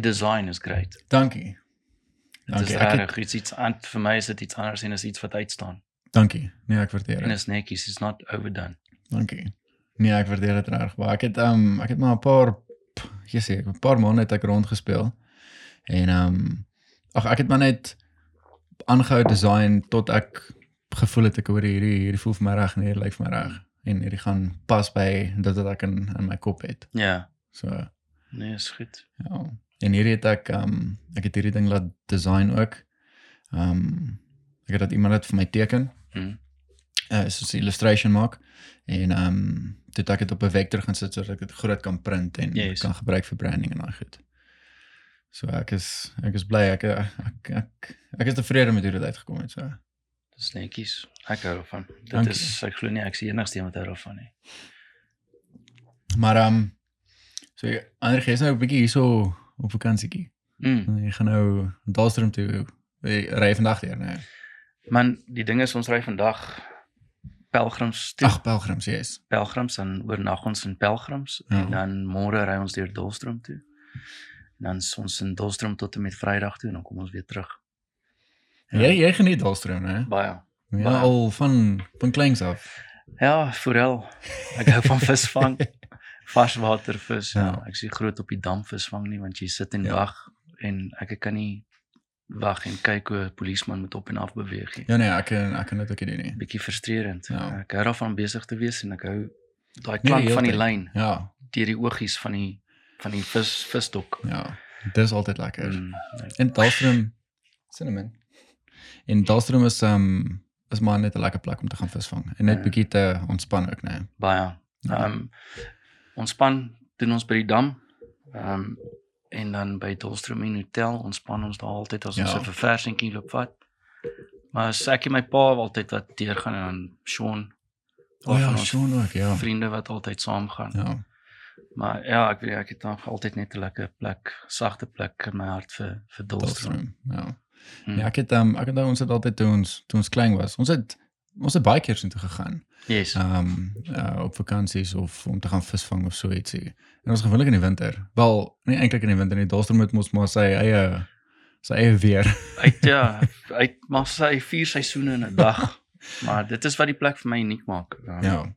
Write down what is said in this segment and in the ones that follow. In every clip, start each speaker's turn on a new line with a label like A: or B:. A: design is great.
B: Dankie.
A: Dit is
B: Dankie. Ek het,
A: regtig iets iets an- vir my is dit iets anders en is iets wat uitstaan.
B: dankie. Nee, ek waardeer
A: En
B: dit.
A: is netjies, it's not overdone.
B: Dankie. Nee, ek waardeer dit reg baie. Ek het um ek het maar 'n paar jissie, 'n paar maande het ek rondgespeel. En um ag ek het maar net aangehou design tot ek gevoel het ek hoor hierdie hierdie voel vir my reg en hierdie lyk vir my reg en hierdie gaan pas by dit wat ek in in my kop het.
A: Ja.
B: So
A: Nee, is goed.
B: ja. En hierdie het ek um ek het hierdie ding laat design ook. Um ek het dat iemand dit vir my teken
A: Hm.
B: uh, soos 'n illustration maak en ehm um, toe het ek dit op 'n vector gaan sit sodat ek dit groot kan print en
A: Yes.
B: yes. kan gebruik vir branding en daai goed. So ek is ek is bly ek ek ek, ek is tevrede met hoe dit uitgekom het so.
A: Dis netjies. Ek hou daarvan. Dit
B: Dankie.
A: is ek glo nie ek is die enigste een wat hou daarvan nie.
B: Maar ehm um, so ander gees nou 'n bietjie hierso op vakansietjie.
A: Mm.
B: Jy gaan nou Dalstroom toe jy ry vandag nee. deur nê.
A: Man, die ding is ons ry vandag pelgrims toe.
B: Ag pelgrims, yes.
A: pelgrims dan oornag ons in pelgrims ja.
B: Ja.
A: en dan môre ry ons deur Dolstroom toe. En dan is ons in Dolstroom tot en met Vrydag toe en dan kom ons weer terug.
B: Ja. Jy jy geniet Dalstroom nê.
A: baie.
B: Ja,
A: baie.
B: al van van kleins af.
A: Ja, forel. Ek hou van visvang. Varswatervis. Ja.
B: Ja.
A: Ek is nie groot op die damvisvang nie want jy sit en
B: Ja.
A: ja. wag en ek ek kan nie wag en kyk hoe 'n polisieman met op en af beweeg nie.
B: Ja nee, ek kan ek kan dit ook nie doen nie.
A: Bietjie frustrerend.
B: Ja.
A: Ja. Ek hou daarvan om besig te wees en ek hou daai
B: die
A: klank
B: hele
A: nee, van die
B: tyd.
A: lyn
B: Ja,
A: deur die oogies van die van die vis visdok.
B: ja. Dis altyd lekker. Mm.
A: Mm,
B: En Dalstroom cinnamon. En Dalstroom is um is maar net 'n lekker plek om te gaan visvang en net
A: Ja.
B: bietjie te ontspan ook, né?
A: baie.
B: Ja.
A: Ehm um, ontspan doen ons by die dam. Ehm um, en dan by Dolstroom en Hotel ontspan ons daar altyd as ons
B: Ja.
A: 'n verversingkie loop vat. Maar as ek en my pa altyd wat deurgaan en dan Sean
B: O ja,
A: van ons
B: Sean ook, ja.
A: vriende wat altyd saam gaan. Ja.
B: Ja.
A: Maar ja, ek weet nie, ek het dan altyd net 'n lekker plek, sagte plek in my hart vir vir Dolstroom.
B: Dalstroom. Ja.
A: Mm.
B: Ja, ek het um ek onthou ons het altyd toe ons toe ons klein was. Ons het ons het baie keer soontoe gegaan.
A: Yes.
B: Um uh, op vakansies of om te gaan visvang of so ietsie. En ons gewoonlik in die winter. Wel, nie eintlik in die winter nie. Dalstroom het mos maar sy eie sy eie weer.
A: Uit ja, uit maar sy vier seisoene in 'n dag. maar dit is wat die plek vir my uniek maak. Um,
B: ja.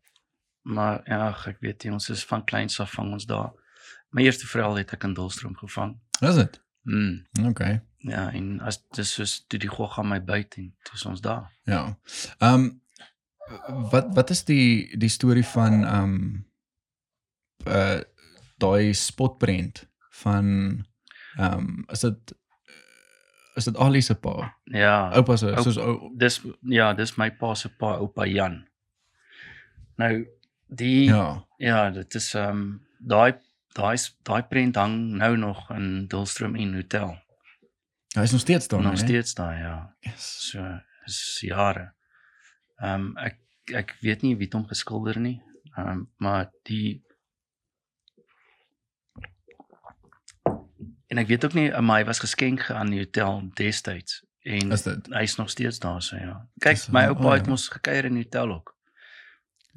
A: Maar ja, ag, ek weet nie, ons is van kleins af vang ons daar. My eerste vrel het ek in Dolstroom gevang.
B: Is dit? Hmm.
A: Mm.
B: Okay.
A: Ja, en as dis soos toe die gogga my byt en toe is ons daar.
B: Ja. Ehm um, wat wat is die die storie van ehm um, uh daai spotprent van ehm um, is dit is dit Ali se pa?
A: Ja.
B: Oupa se
A: Oup-
B: soos ou
A: Dis ja, dis my pa se pa, oupa Jan. Nou die ja,
B: ja.
A: ja dit is ehm um, daai daai daai prent hang nou nog in Dolstroom en Hotel.
B: Hy is nog steeds daar,
A: Nog
B: hè?
A: steeds daar, ja.
B: Yes.
A: So is jare. Ehm um, ek ek weet nie wie dit hom geskilder nie. Ehm um, maar die en ek weet ook nie maar hy was geskenk aan die hotel destyds en
B: Is dit?
A: hy's nog steeds daar so ja. Kyk,
B: Is-
A: my
B: oh,
A: oupa het
B: ja.
A: mos gekuier in die hotel ook.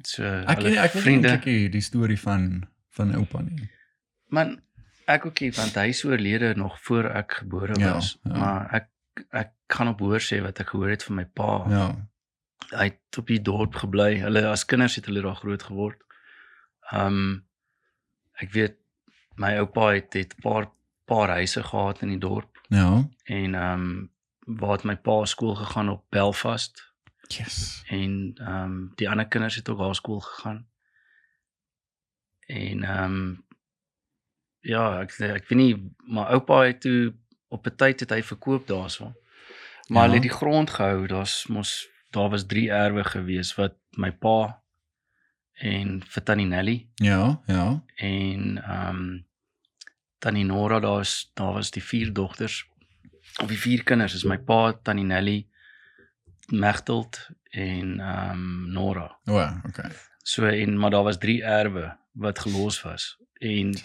A: So
B: Ek
A: hulle
B: ken ek weet nie
A: vriende
B: eintlik die- die storie van van oupa nie.
A: man ek ook nie want hy is oorlede nog voor ek gebore
B: Ja,
A: was,
B: ja.
A: maar ek ek gaan op hoor sê wat ek gehoor het van my pa.
B: Ja.
A: hy het op die dorp gebly. Hulle as kinders het hulle daar groot geword. Um ek weet my oupa het het 'n paar paar huise gehad in die dorp
B: Ja.
A: en um waar het my pa skool gegaan op Belfast
B: Yes.
A: en um die ander kinders het ook daar skool gegaan. En um ja, ek ek weet nie my oupa het toe op 'n tyd het hy verkoop daarso. Maar
B: Ja.
A: hulle het die grond gehou. Daar's mos daar was 3 erwe gewees wat my pa en vir Tannie Nelly
B: Ja, ja.
A: en ehm um, Tannie Nora daar's daar was die vier dogters of die vier kinders is my pa, Tannie Nelly, Megteld en ehm um, Nora.
B: O, oh, okay.
A: So en maar daar was 3 erwe wat gelos was. En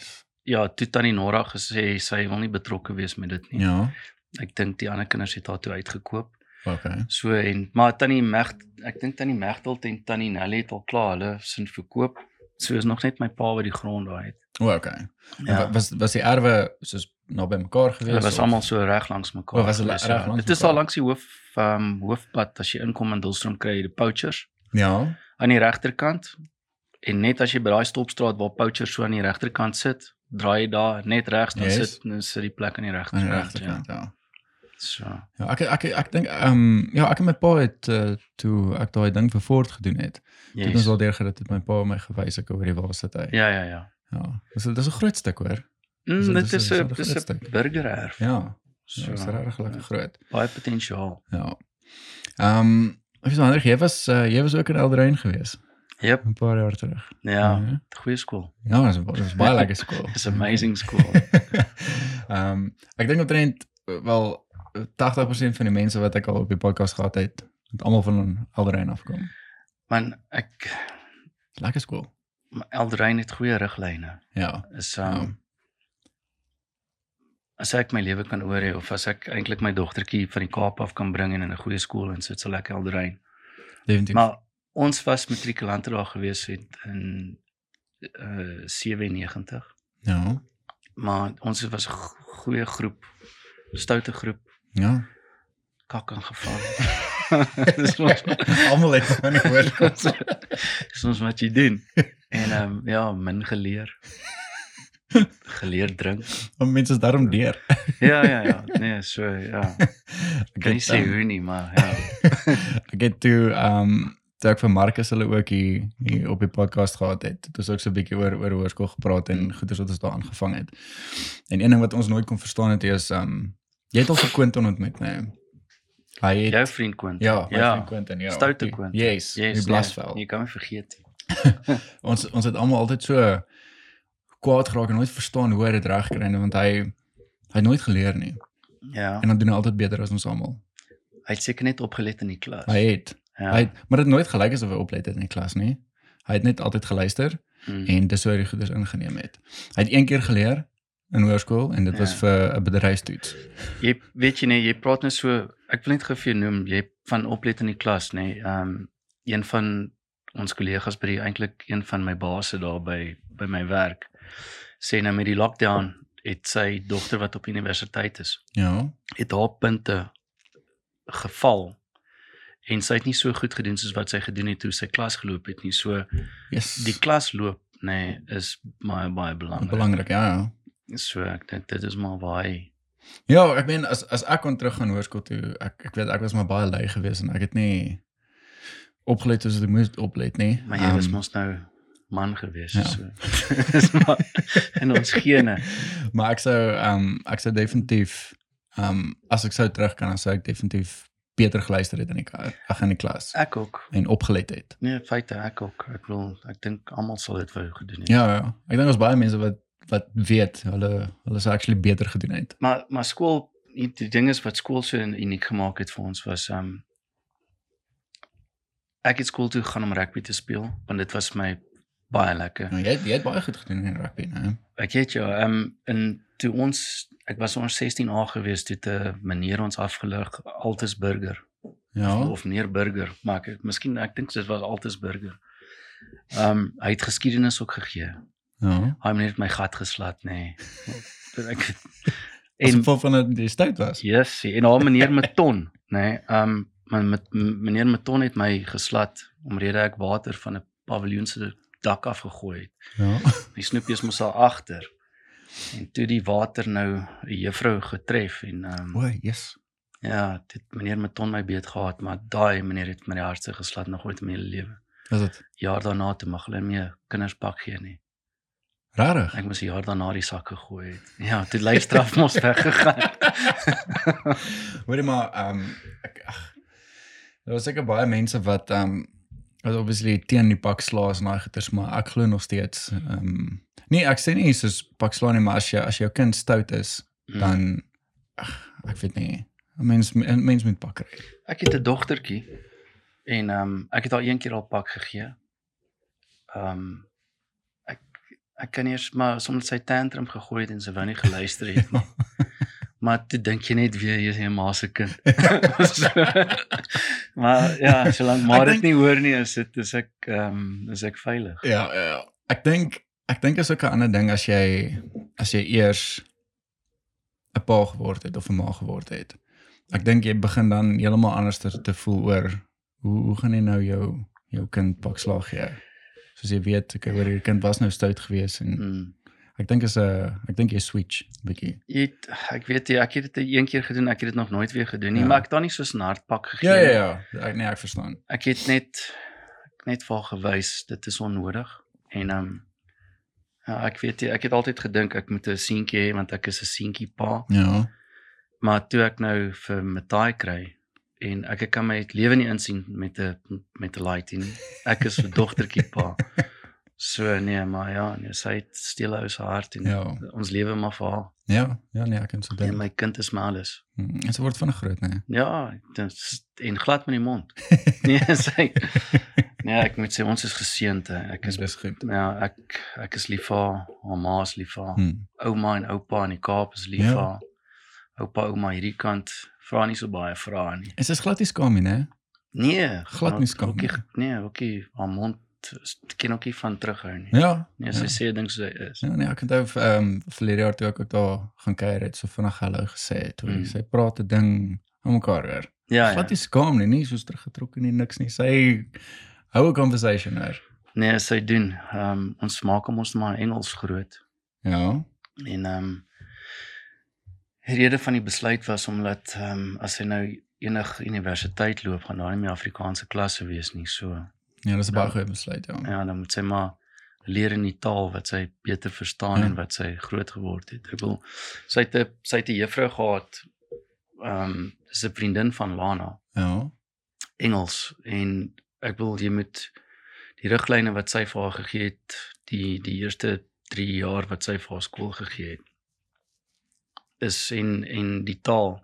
A: ja, toe Tannie Nora gesê sy wil nie betrokke wees met dit nie.
B: Ja.
A: Ek dink die ander kinders het haar toe uitgekoop.
B: Okay.
A: So en maar tannie Meg ek dink tannie Megtelt en tannie Nelly het al klaar hulle sin verkoop. So is nog net my pa wat die grond daai het.
B: O, okay.
A: Ja.
B: Ja. Was was die erwe soos naby mekaar gewees?
A: Hulle was
B: of-
A: almal so reg langs mekaar.
B: O, was hulle
A: gewees,
B: reg
A: ja.
B: langs
A: Dit is
B: mekaar?
A: al langs die hoof ehm um, hoofpad as jy inkom in Dullstroom kry jy die Pouchers
B: Ja.
A: aan die regterkant. En net as jy by daai stopstraat waar Pouchers so aan die regterkant sit, draai jy daar net regs dan
B: Yes.
A: yes. sit dan sit die plek aan die
B: Aan die
A: regterkant. Ja.
B: regterkant, ja.
A: So.
B: Ja, ek ek ek dink ehm um, ja, ek en my pa het uh, toe ek daai ding vir Ford gedoen het. Yes. Het ons
A: Yes.
B: al deurgerit het my pa my gewys ek oor die waar sit hy.
A: Ja ja ja.
B: Ja. Dis dis 'n groot stuk hoor. Dis-
A: Mm,
B: dis-
A: dit is 'n
B: dis wel 'n
A: dis
B: groot
A: 'n
B: stuk.
A: burgererf.
B: Ja. So,
A: So,
B: dis regtig lekker groot.
A: baie potensiaal.
B: Ja. Ehm um, ek is ander jy was uh, jy was ook in Elderrein gewees
A: Jep,
B: 'n paar jaar terug.
A: ja,
B: Ja,
A: goeie skool.
B: ja dis dis baie lekker skool.
A: It's amazing school.
B: Ehm um, ek dink omtrent eh, wel 80% van die mense wat ek al op die podcast gehad het, het almal van Alderrein afkom.
A: Man, ek
B: Lekker skool.
A: Eldrain het goeie riglyne.
B: Ja.
A: Is um oh. as ek my lewe kan oor hê of as ek eintlik my dogtertjie van die Kaap af kan bring en in 'n goeie skool en sit sal ek Eldrain.
B: definitief.
A: Maar ons was matrikulante daar gewees het in uh 97,
B: ja.
A: maar ons was 'n go- goeie groep, stoute groep,
B: Ja.
A: kak aangeval. Dis ons
B: almal het van die hoor.
A: Dis ons wat jy doen. En ehm um, ja, min geleer. Geleer drink.
B: Om mense is daarom deur.
A: Ja ja ja. Nee, so ja.
B: Ek
A: Kan nie
B: het,
A: sê
B: ehm,
A: hoe nie, maar ja.
B: ek het toe ehm um, toe ek vir Marcus hulle ook hier, hier op die podcast gehad het. Het ons ook so 'n bietjie oor oor hoërskool gepraat en goeders wat ons daar aangevang het. En een ding wat ons nooit kon verstaan het is ehm um, jy het al vir Quentin ontmoet, né? Nee. Hy het
A: Jou vriend Koen.
B: Ja, my
A: Ja.
B: vriend Quentin, ja.
A: Stoute
B: Die-
A: Quentin.
B: Yes, yes die Blasveld.
A: Nee, jy kan my vergeet.
B: Ons ons het almal altyd so kwaad geraak en nooit verstaan hoe hy dit reg kry want hy hy het nooit geleer nie.
A: Ja.
B: En dan doen hy altyd beter as ons almal.
A: Hy het seker net opgelet in die klas.
B: Hy het
A: ja.
B: ja. hy het, maar dit het nooit gelyk asof hy oplet het in die klas nie. Hy het net altyd geluister
A: mm.
B: en dis hoe hy die goeders ingeneem het. Hy het een keer geleer in hoërskool en dit ja. was
A: Ja.
B: vir 'n bedryfstoets.
A: jy weet jy nee, jy praat net so, ek wil net gou vir jou noem, jy van oplet in die klas, nê. Nee, ehm um, een van ons kollegas by die eintlik een van my baase daar by by my werk sê nou met die lockdown het sy dogter wat op universiteit is,
B: Ja.
A: het haar punte geval en sy het nie so goed gedoen soos wat sy gedoen het toe sy klas geloop het nie. So
B: Yes.
A: die klas loop, nê, nee, is baie baie belangrik.
B: belangrik, ja ja.
A: So ek dink dit is maar waar hy
B: Ja, ek meen as as ek kon teruggaan hoërskool toe, ek ek weet ek was maar baie lui geweest en ek het nie opgelet soos ek moes oplet nie.
A: Maar jy was
B: Ehm,
A: mos nou man gewees,
B: ja.
A: ja. so. Dis maar in ons gene.
B: maar ek sou ehm um, ek sou definitief ehm um, as ek sou terug kan, dan sou ek definitief beter geluister het in die kar, ag in die klas
A: Ek ook.
B: en opgelet het.
A: Nee, feite ek ook. Ek wil ek dink almal sal dit wou gedoen het.
B: Ja, ja. Ek dink daar's baie mense wat wat weet hulle hulle sou actually beter gedoen het.
A: Maar maar skool die, die ding is wat skool so uniek gemaak het vir ons was um ek het skool toe gaan om rugby te speel want dit was my baie lekker.
B: Nou jy het- jy het baie goed gedoen in rugby, né?
A: Ek weet jou, ehm um, in toe ons ek was ons 16A gewees toe 'n meneer ons afgelig Altisburger
B: Ja.
A: of meneer Burger, maar ek miskien ek dink dit was altes Burger. Ehm um, hy het geskiedenis ook gegee.
B: Ja.
A: Hy het net my gat geslat, nê. Nee. Dat Ek
B: En
A: en
B: vol van dat jy stout was.
A: yes, en haar meneer Meton, nê. Nee, ehm um, maar met meneer Meton het my geslat omrede ek water van 'n paviljoen se dak afgegooi het.
B: Ja.
A: Die snoepies moes al agter. En toe die water nou 'n juffrou getref en ehm um,
B: O, yes.
A: ja, dit meneer Meton my beet gehad, maar daai meneer het my die hardste geslat nog ooit in my hele lewe.
B: Was dit
A: jaar daarna toe mag hulle nie meer kinderspak gee nie.
B: rarig?
A: Ek moes 'n jaar daarna die sak gegooi het. Ja, toe lei straf mos weggegaan.
B: Hoorie maar ehm ek ag daar was seker baie mense wat ehm wat obviously teen die pak slaas en daai goeters maar ek glo nog steeds ehm nee ek sê nie soos pak slaan nie maar as jy as jou kind stout is mm.
A: Dan
B: dan ag ek weet nie 'n mens 'n mens moet pak kry.
A: ek het 'n dogtertjie en ehm um, ek het haar een keer al pak gegee. Ehm um, ek ek kan eers maar soms sy tantrum gegooi het en sy wou nie geluister het nie. Maar toe dink jy net weer jy is 'n ma se kind. so, maar ja, solank maar
B: Ek
A: dit nie hoor nie, is dit is ek ehm um, is ek veilig.
B: Ja, ja. Ek dink ek dink is ook 'n ander ding as jy as jy eers 'n pa geword het of 'n ma geword het. Ek dink jy begin dan heeltemal anders te, te voel oor hoe hoe gaan jy nou jou jou kind pak slaag gee? Soos jy weet, ek hoor hierdie kind was nou stout geweest en
A: Mm.
B: ek dink is 'n ek dink jy switch 'n bietjie.
A: Jy het, ek weet jy, ek het dit een keer gedoen, ek het dit nog nooit weer gedoen nie,
B: Ja.
A: ja. maar ek het daar nie so 'n hartpak gegee
B: Ja
A: nie.
B: ja ja, ek nee, ek verstaan.
A: Ek het net ek het net vir haar gewys dit is onnodig en ehm um, ja, ek weet jy, ek het altyd gedink ek moet 'n seentjie hê want ek is 'n seentjie pa.
B: Ja.
A: Maar toe ek nou vir Matai kry en ek ek kan my lewe nie insien met 'n met 'n laaitie nie. Ek is 'n dogtertjie pa. So nee, maar ja, nee, sy het steel ou se hart en ja.
B: Ja.
A: ons lewe maar vir haar.
B: Ja, ja nee, ek kan so
A: En
B: dink.
A: my kind is my alles.
B: Mm, Dit word van 'n groot nee.
A: Ja, dis en glad met die mond. Nee, sy Nee, ek moet sê ons is geseënd. hè. Ek is
B: Dis goed.
A: ja, ek ek is lief vir haar, haar ma is lief vir haar.
B: Hmm.
A: ouma en oupa in die Kaap is lief
B: Ja.
A: vir haar. Oupa ouma hierdie kant vra nie so baie vrae nie.
B: Is dit glad nie skaam nie, né?
A: Nee,
B: Glad nie
A: maar
B: skam
A: Okkie,
B: nie.
A: nee, okkie, haar mond is- ken ook nie van terughou nie.
B: Ja.
A: Nee, sy
B: ja.
A: sê dink sy is.
B: Ja, nee, ek onthou ehm um, verlede jaar toe ek ook daar gaan kuier het, so vinnig hallo gesê het, hoor,
A: Mm.
B: mm. sy praat 'n ding aan mekaar oor.
A: Ja. ja.
B: Glad nie skaam nie, nie soos teruggetrokke nie, niks nie. Sy hou 'n conversation oor.
A: Nee, sy doen. Ehm um, ons maak hom ons maar Engels groot
B: Ja.
A: en ehm um, die rede van die besluit was omdat ehm um, as hy nou enig universiteit loop gaan daar nie meer Afrikaanse klasse wees nie. So
B: Ja, dis 'n baie
A: Ja.
B: goeie besluit, ja.
A: ja, dan moet sy maar leer in die taal wat sy beter verstaan
B: Ja.
A: ja. en wat sy groot geword het. Ek wil sy het 'n sy het 'n juffrou gehad. Ehm um, dis 'n vriendin van Lana,
B: Ja.
A: Engels en ek wil jy moet die riglyne wat sy vir haar gegee het, die die eerste 3 jaar wat sy vir haar skool gegee het. Is en en die taal.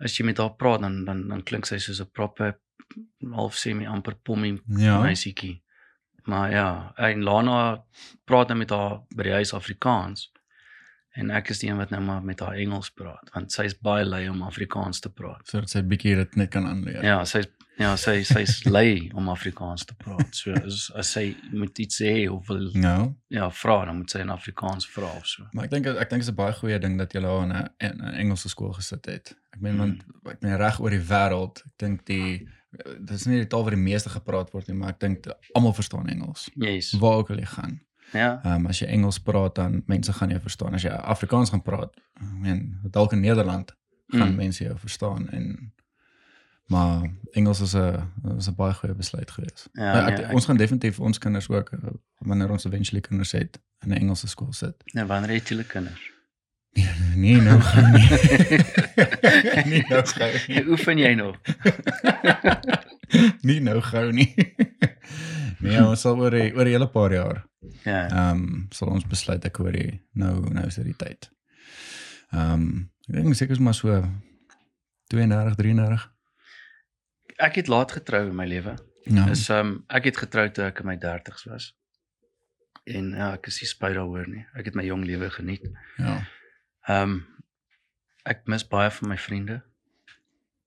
A: As jy met haar praat dan dan dan klink sy soos 'n proper half semi amper pommie ja.
B: Ja.
A: meisietjie. Maar ja, en Lana praat nou met haar by die huis Afrikaans. En ek is die een wat nou maar met haar Engels praat want sy's baie lui om Afrikaans te praat.
B: Sodat sy 'n bietjie dit net kan aanleer.
A: Ja, sy's ja, sy sy's lui om Afrikaans te praat. So as, as sy moet iets sê of wil
B: Ja.
A: ja, vra, dan moet sy in Afrikaans vra of so.
B: Maar ek dink ek dink dit is 'n baie goeie ding dat jy daar in 'n in 'n Engelse skool gesit het. Ek meen
A: Mm.
B: want ek meen reg oor die wêreld, ek dink die dit is nie die taal wat die meeste gepraat word nie, maar ek dink almal verstaan Engels.
A: Yes.
B: Waar ook al jy gaan.
A: Ja.
B: Ehm um, as jy Engels praat dan mense gaan jou verstaan. As jy Afrikaans gaan praat, ek meen dalk in Nederland gaan mm.
A: Mm.
B: mense jou verstaan en maar Engels is 'n is 'n baie goeie besluit gewees.
A: Ja,
B: Maar
A: nee,
B: Nou, ek,
A: ek-
B: ons gaan definitief ons kinders ook eh, wanneer ons eventually kinders het in 'n Engelse skool sit.
A: Nou wanneer het julle kinders?
B: Nee, nou gaan nie. nie nou gou nie.
A: Oefen jy nog?
B: Nie nou gou nie. Nee, ons sal oor die, oor 'n hele paar jaar.
A: Ja.
B: Ehm um, sal ons besluit ek hoor die nou nou is dit die tyd. Ehm um, ek dink seker is maar so 32, 33.
A: Ek het laat getrou in my lewe.
B: Ja.
A: Is ehm um, ek het getroud toe ek in my 30's was. En ja, ek is nie spyt daaroor nie. Ek het my jong lewe geniet.
B: ja.
A: Ehm um, ek mis baie van my vriende.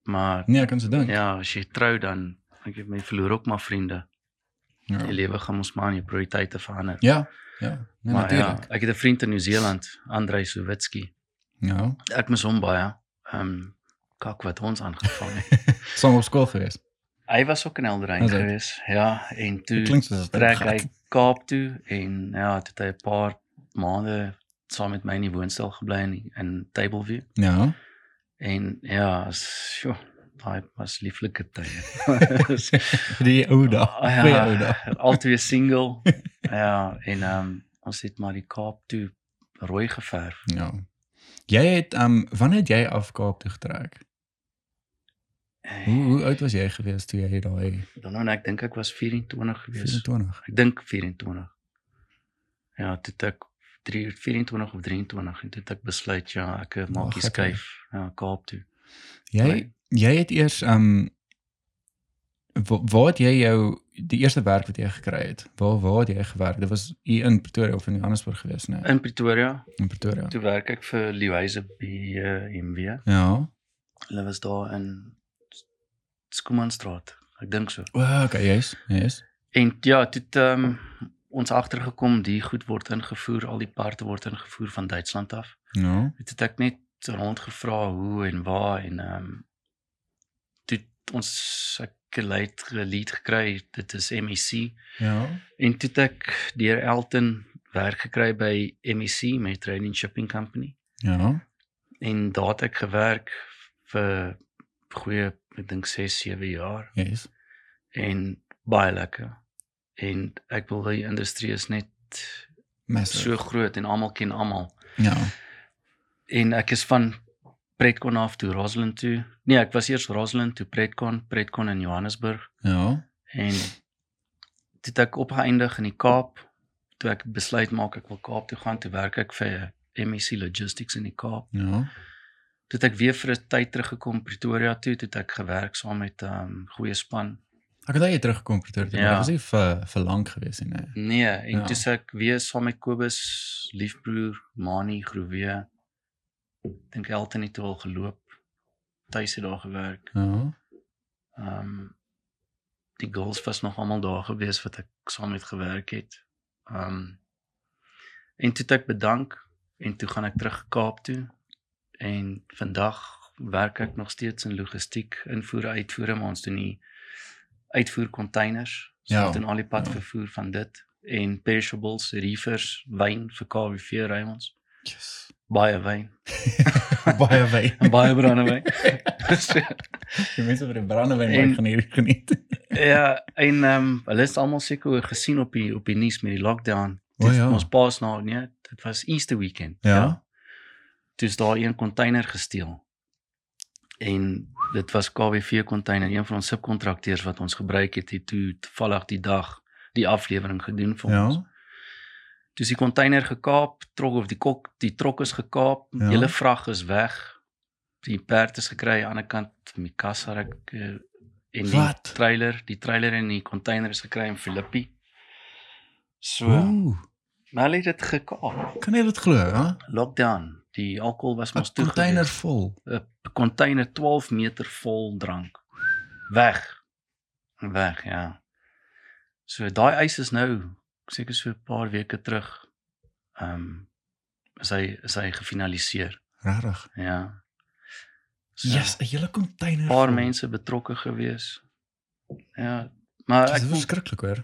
A: Maar
B: Nee, ek kan se dink.
A: ja, as jy trou dan ek het my verloor ook maar vriende. Die
B: Ja.
A: lewe gaan ons maar aan jou prioriteite verander.
B: Ja. Ja, nee,
A: maar ja,
B: natuurlik.
A: ek het 'n vriend in Nieu-Seeland, Andrei Sowitski.
B: Ja.
A: Ek mis hom baie. Ehm um, kak wat ons aangevang het.
B: Saam op skool gewees.
A: Hy was ook in Elderrein
B: Is hy?
A: gewees. Ja, en toe
B: Dit klink soos 'n
A: trek hy Kaap toe en ja, toe het hy 'n paar maande saam met my in die woonstel gebly in in Tableview
B: Ja.
A: en ja, sjo, daai was lieflike tye.
B: Die ou dae. Goeie ou dae.
A: ja, altyd single. ja, en ehm um, ons het maar die Kaap toe rooi geverf.
B: Ja. Jy het um wanneer het jy af Kaap toe getrek? Hoe
A: Eh,
B: hoe oud was jy gewees toe jy daai
A: Dan nou ek dink ek was 24 gewees.
B: 24?
A: Ek dink 24. Ja, toe het ek 3 24 of 23 en toe het ek besluit ja, ek maak
B: Wag,
A: die
B: ek-
A: skuif na Kaap toe.
B: Jy
A: Nee.
B: jy het eers um wa- waar het jy jou die eerste werk wat jy gekry het? Waar waar het jy gewerk? Dit was hier in Pretoria of in Johannesburg gewees, né?
A: In Pretoria,
B: In Pretoria.
A: toe werk ek vir Leeuise by eh, MW.
B: Ja.
A: Hulle was daar in Skumanstraat, ek dink so.
B: O, okay, yes. Yes.
A: En ja, toe het, ehm um, ons agtergekom die goed word ingevoer, al die parte word ingevoer van Duitsland af.
B: Ja.
A: Dit het ek net rondgevra hoe en waar en ehm um, toe het ons ek leid geleed gekry, dit is MEC
B: Ja.
A: en toe het ek deur Elton werk gekry by E MEC met Trade and Shipping Company
B: Ja.
A: en daar het ek gewerk vir goeie ek dink 6 7 jaar
B: Yes.
A: en baie lekker. En ek wil die industrie is net so
B: Massive.
A: groot en almal ken almal.
B: Ja.
A: En ek is van Pretcon af toe Rosslyn toe. Nee, ek was eers Rosslyn toe Pretcon, Pretcon in Johannesburg
B: Ja.
A: en toe het ek opgeëindig in die Kaap. Toe ek besluit maak ek wil Kaap toe gaan, toe werk ek vir MEC Logistics in die Kaap.
B: Ja.
A: Toe het ek weer vir 'n tyd teruggekom Pretoria toe, toe het ek gewerk saam met 'n um, goeie span
B: Ek het daai teruggekom Pretoria. toe, maar
A: Ja.
B: Dit was nie vir vir lank gewees nie. nee.
A: Nee, en
B: Ja.
A: ja. toe sê ek weer saam met Kobus, liefbroer, Mani, Groewe. Dink Elton het toe al geloop. Tuis het daar gewerk.
B: Ja.
A: Ehm um, die girls was nog almal daar gewees wat ek saam met gewerk het. Ehm um, en toe het ek bedank en toe gaan ek terug Kaap toe. En vandag werk ek nog steeds in logistiek, invoer, uitvoere, maar ons doen die uitvoer containers. So
B: Ja,
A: ja, doen al die pad
B: ja.
A: ja. vervoer van dit en perishables, reefers, wyn vir KWV ry ons.
B: Yes.
A: Baie wyn,
B: Baie baie.
A: en baie brandewyn. so,
B: Die mense wat die brandewyn
A: En-
B: maak gaan hierdie geniet.
A: Ja, en ehm um, hulle is almal seker gesien op die op die nuus met die lockdown.
B: O,
A: Dit-
B: ja.
A: Ons paas nou, nee, dit was Easter weekend.
B: Ja.
A: Toe is daar een container gesteel. En dit was KWV container, een van ons subkontrakteurs wat ons gebruik het, het toe toevallig die dag die aflewering gedoen vir ons.
B: Ja.
A: Toe is die container gekaap, trok of die kok, die trok is gekaap,
B: Ja.
A: ja. hele vrag is weg. Die perd is gekry aan die ander kant Mikasa ek en die
B: Wat?
A: trailer, die trailer en die container is gekry in Filippi. So,
B: Ooh.
A: maar hulle het dit gekaap.
B: Kan jy dit glo, hè?
A: Lockdown. Die alkohol was
B: 'n
A: mos toe.
B: Container vol.
A: 'n container 12 meter vol drank. Weg. Weg, ja. So daai ys is nou seker so 'n paar weke terug. Ehm um, is hy is hy gefinaliseer.
B: Regtig.
A: Ja. So,
B: Yes, 'n hele container.
A: 'n paar
B: vol.
A: mense betrokke gewees. Ja, maar
B: Dit
A: ek
B: is
A: dink-
B: verskriklik hoor.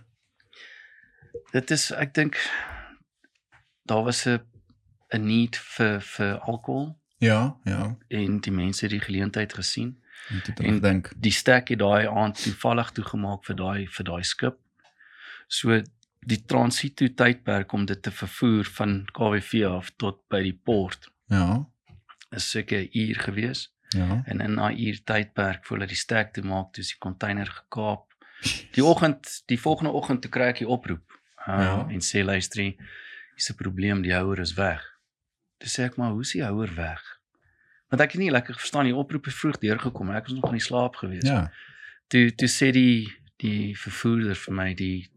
A: dit is ek dink daar was 'n 'n need vir vir alkohol
B: Ja, ja.
A: en die mense het die geleentheid gesien.
B: Moet dit
A: En-
B: dan dink.
A: die stek het daai aand toevallig toegemaak vir daai vir daai skip. So die transito tydperk om dit te vervoer van KWV af tot by die port
B: Ja.
A: is seker 'n uur gewees
B: Ja.
A: en in daai uur tydperk voor hulle die stek toe maak, toe is die container gekaap. Die oggend, die volgende oggend toe kry ek die oproep. Um,
B: Ja.
A: ja. en sê luister, hier, hier's 'n probleem, die houer is weg. Toe sê ek maar, hoe's die houer weg? Want ek het nie lekker verstaan die oproep het vroeg deurgekom en ek was nog in die slaap gewees
B: Ja.
A: toe toe sê die die vervoerder vir my die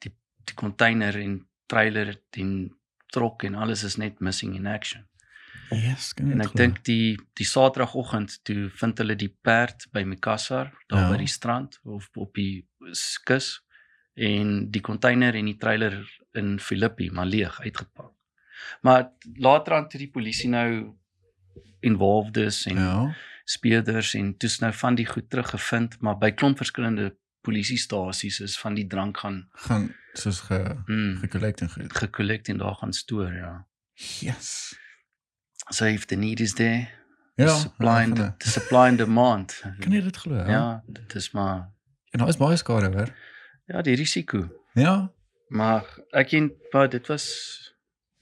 A: die die container en trailer en trok en alles is net missing in action.
B: Yes, kan jy
A: En
B: dit
A: ek
B: glo?
A: dink die die Saterdagoggend toe vind hulle die perd by Makassar daar
B: Ja.
A: ja. by die strand of op die s- kus en die container en die trailer in Filippi maar leeg uitgepak. Maar later aan toe die polisie nou involved is en ja
B: Ja.
A: speerders en toets nou van die goed teruggevind, maar by klomp verskillende polisiestasies is van die drank gaan
B: Gaan soos ge
A: mm,
B: gekollect en goed.
A: gekollekt en daar gaan stoor, ja.
B: Yes.
A: So if the need is there,
B: Ja.
A: the supply and
B: hulle-
A: the supply and demand.
B: Kan jy dit glo? hè?
A: Ja, dit is maar
B: En daar is baie skade hoor.
A: ja, die risiko.
B: Ja.
A: Maar ek en maar dit was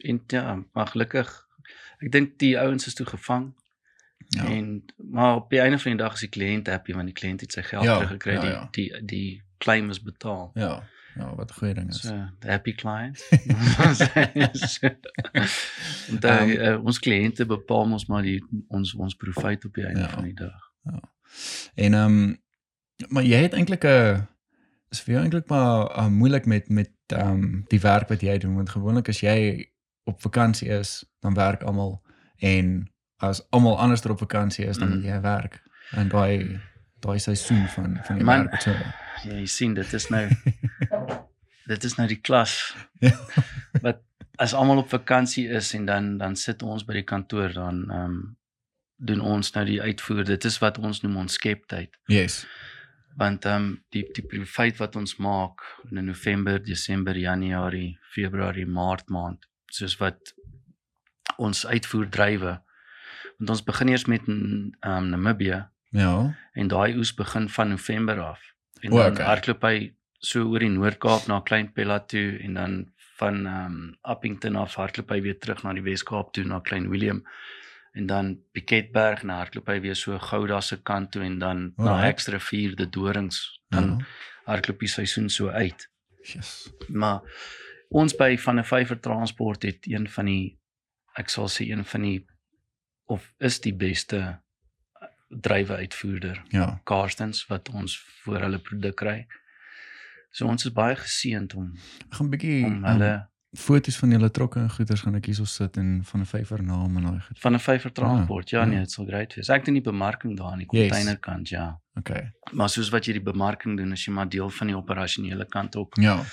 A: en ja, maar gelukkig ek dink die ouens is toe gevang ja.
B: Ja.
A: en maar op die einde van die dag is die kliënt happy want die kliënt het sy geld
B: Ja,
A: ja, teruggekry.
B: ja,
A: Ja,
B: ja.
A: ja. Die die die claim is betaal.
B: Ja. Ja, wat 'n goeie ding is.
A: So, the happy client. Want um,
B: Ehm,
A: uh, ons kliënte bepaal ons maar die ons ons profit op die einde
B: Ja.
A: ja. van die dag.
B: En ehm um, maar jy het eintlik 'n is vir jou eintlik maar uh, moeilik met met ehm um, die werk wat jy doen want gewoonlik as jy op vakansie is, dan werk almal en as almal anders er op vakansie is, dan
A: Mm.
B: moet jy werk. En daai daai seisoen van van die
A: Man.
B: werk so.
A: er Ja, jy sien dit is nou dit is nou die klas.
B: Ja.
A: Wat as almal op er vakansie is en dan dan sit ons by die kantoor dan ehm um, doen ons nou die uitvoer. Dit is wat ons noem ons skeptyd.
B: Yes.
A: want ehm um, die die profit wat ons maak in November, Desember, Januarie, Februarie, Maart maand, soos wat ons uitvoer drywe. Want ons begin eers met ehm um, Namibië
B: Ja.
A: en daai oes begin van November af. En
B: O,
A: dan
B: okay.
A: hardloop hy so oor die Noord-Kaap na Klein Pella toe en dan van ehm um, Appington af hardloop hy weer terug na die Wes-Kaap toe na Klein Willem en dan Piketberg en dan hardloop hy weer so Gouda se kant toe en dan na
B: Alright.
A: Hexrivier, die Dorings, dan
B: ja.
A: hardloop die seisoen so uit.
B: Yes.
A: Maar ons by van 'n vyver transport het een van die ek sal sê een van die of is die beste eh, drywe uitvoerder
B: Ja.
A: Karstens wat ons vir hulle produk kry. So ons is baie geseënd om
B: Ek gaan 'n bietjie
A: om
B: ehm,
A: hulle
B: foto's van julle trokke en goeders gaan ek hierso sit en van 'n vyfer naam en daai goed.
A: van 'n vyver transport. Ja
B: ja.
A: nee, dit sal great wees. Ek doen die bemarking daar aan die
B: Yes.
A: containerkant, ja.
B: Okay.
A: Maar soos wat jy die bemarking doen, is jy maar deel van die operasionele kant ook.
B: Ja.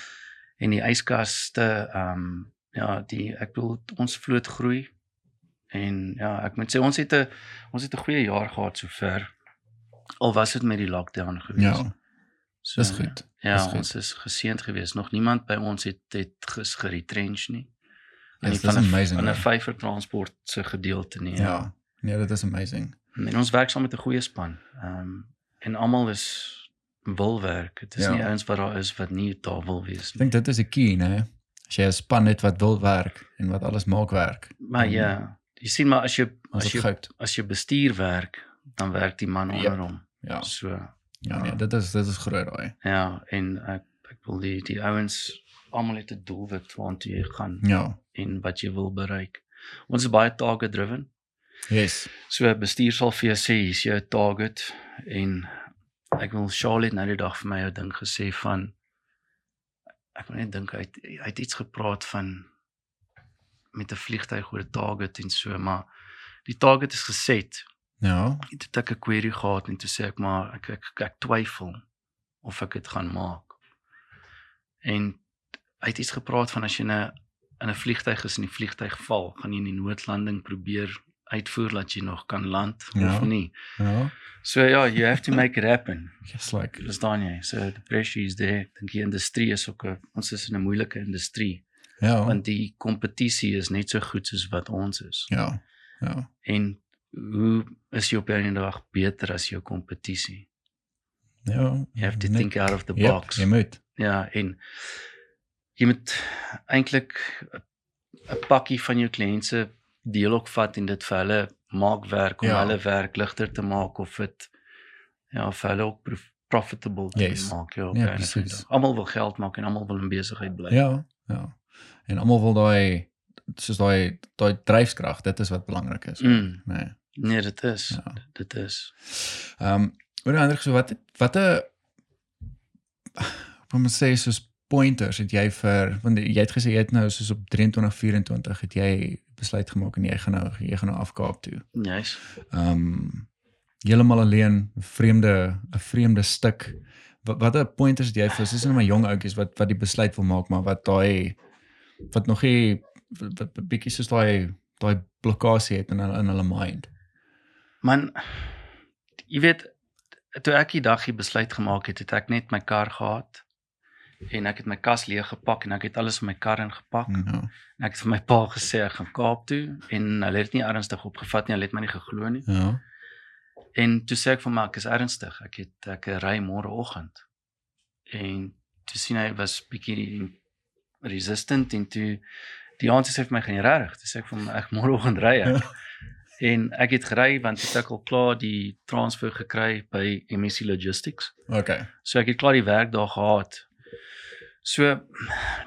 A: en die yskaste ehm um, ja die ek bedoel ons vloot groei en ja ek moet sê ons het 'n ons het 'n goeie jaar gehad sover al was dit met die lockdown gewees.
B: Ja,
A: so,
B: dis goed.
A: Ja,
B: dis goed.
A: ons is geseënd gewees. Nog niemand by ons het het ges geretrench nie. die
B: Yes, dis
A: van 'n-
B: amazing,
A: Van 'n
B: ja.
A: vyver transport se gedeelte nie. Ja.
B: Ja. Nee, dit is amazing.
A: En ons werk saam met 'n goeie span. Ehm um, en almal is wil werk. Dit is
B: Ja.
A: ja. nie ouens wat daar is wat nie daar wil wees
B: Ek
A: nie.
B: dink dit is 'n key, né? As jy 'n span het wat wil werk en wat alles maak werk.
A: Maar
B: dan
A: ja, jy sien maar as jy
B: is
A: as
B: dit
A: jy
B: goud.
A: as jy bestuur werk, dan werk die man
B: Ja.
A: onder hom.
B: Ja.
A: So
B: Ja, nee, dit is dit is groot daai.
A: ja, en ek ek wil die die ouens almal het 'n doelwit waartoe jy gaan
B: Ja.
A: en wat jy wil bereik. Ons is baie target driven.
B: Yes.
A: So 'n bestuur sal vir jou sê hier's jou target en ek wil Charlotte nou die dag vir my 'n ding gesê van ek wil net dink hy het, hy het iets gepraat van met 'n vliegtyg oor 'n target en so maar die target is geset
B: Ja.
A: En toe het ek 'n query gehad en toe sê ek maar ek ek, ek twyfel of ek dit gaan maak. En hy het iets gepraat van as jy in 'n in 'n vliegtyg is en die vliegtyg val, gaan jy in die noodlanding probeer uitvoer dat jy nog kan land ja.
B: Ja.
A: of nie.
B: Ja.
A: So ja, you have to make it happen.
B: Yes like.
A: Verstaan jy? So the pressure is there. Ek Dink die industrie is ook 'n ons is in 'n moeilike industrie
B: Ja.
A: want die kompetisie is net so goed soos wat ons is.
B: ja. Ja.
A: En hoe is jy op 'n dag beter as jou kompetisie?
B: Ja.
A: You have to
B: Net-
A: think out of the
B: Yep,
A: box.
B: Jy moet.
A: Ja, en jy moet eintlik 'n- 'n pakkie van jou kliënte se deel ook vat en dit vir hulle maak werk om
B: Ja.
A: ja. hulle werk ligter te maak of dit ja, vir hulle ook prof- profitable te
B: Yes.
A: yes. maak. Ja,
B: Ja,
A: ja
B: presies.
A: Almal wil geld maak en almal wil in besigheid bly.
B: Ja. Ja. En almal wil daai soos daai daai dryfkrag, dit is wat belangrik is.
A: Mm,
B: Nee.
A: nee, dit is. Ja.
B: Ja.
A: Dit is.
B: Ehm um, oor ander so wat wat 'n kom ons sê soos pointers het jy vir want jy het gesê jy het nou soos op 23 24 het jy besluit gemaak en jy gaan nou jy gaan nou af Kaap toe.
A: Nice.
B: Ehm um, heeltemal alleen, 'n vreemde 'n vreemde stuk. Wat wat 'n pointers het jy vir soos net my jong ouetjies wat wat die besluit wil maak, maar wat daai wat nog nie wat- wat 'n bietjie soos daai daai blokkade het in hulle in hulle mind.
A: Man, jy weet toe ek die dag die besluit gemaak het, het ek net my kar gehad en ek het my kas leeg gepak en ek het alles in my kar ingepak. Mm.
B: Ja.
A: En ek het vir my pa gesê ek gaan Kaap toe en hulle het dit nie ernstig opgevat nie, hulle het my nie geglo nie.
B: Ja.
A: En toe sê ek vir my ek is ernstig. Ek het ek ry môreoggend. En toe sien hy was bietjie resistant en toe die aand sê hy vir my gaan jy regtig? Toe sê ek vir hom ek môreoggend ry ek. en ek het gery want toe het ek al klaar die transfer gekry by MSC Logistics.
B: Okay.
A: So ek het klaar die werk daar gehad. So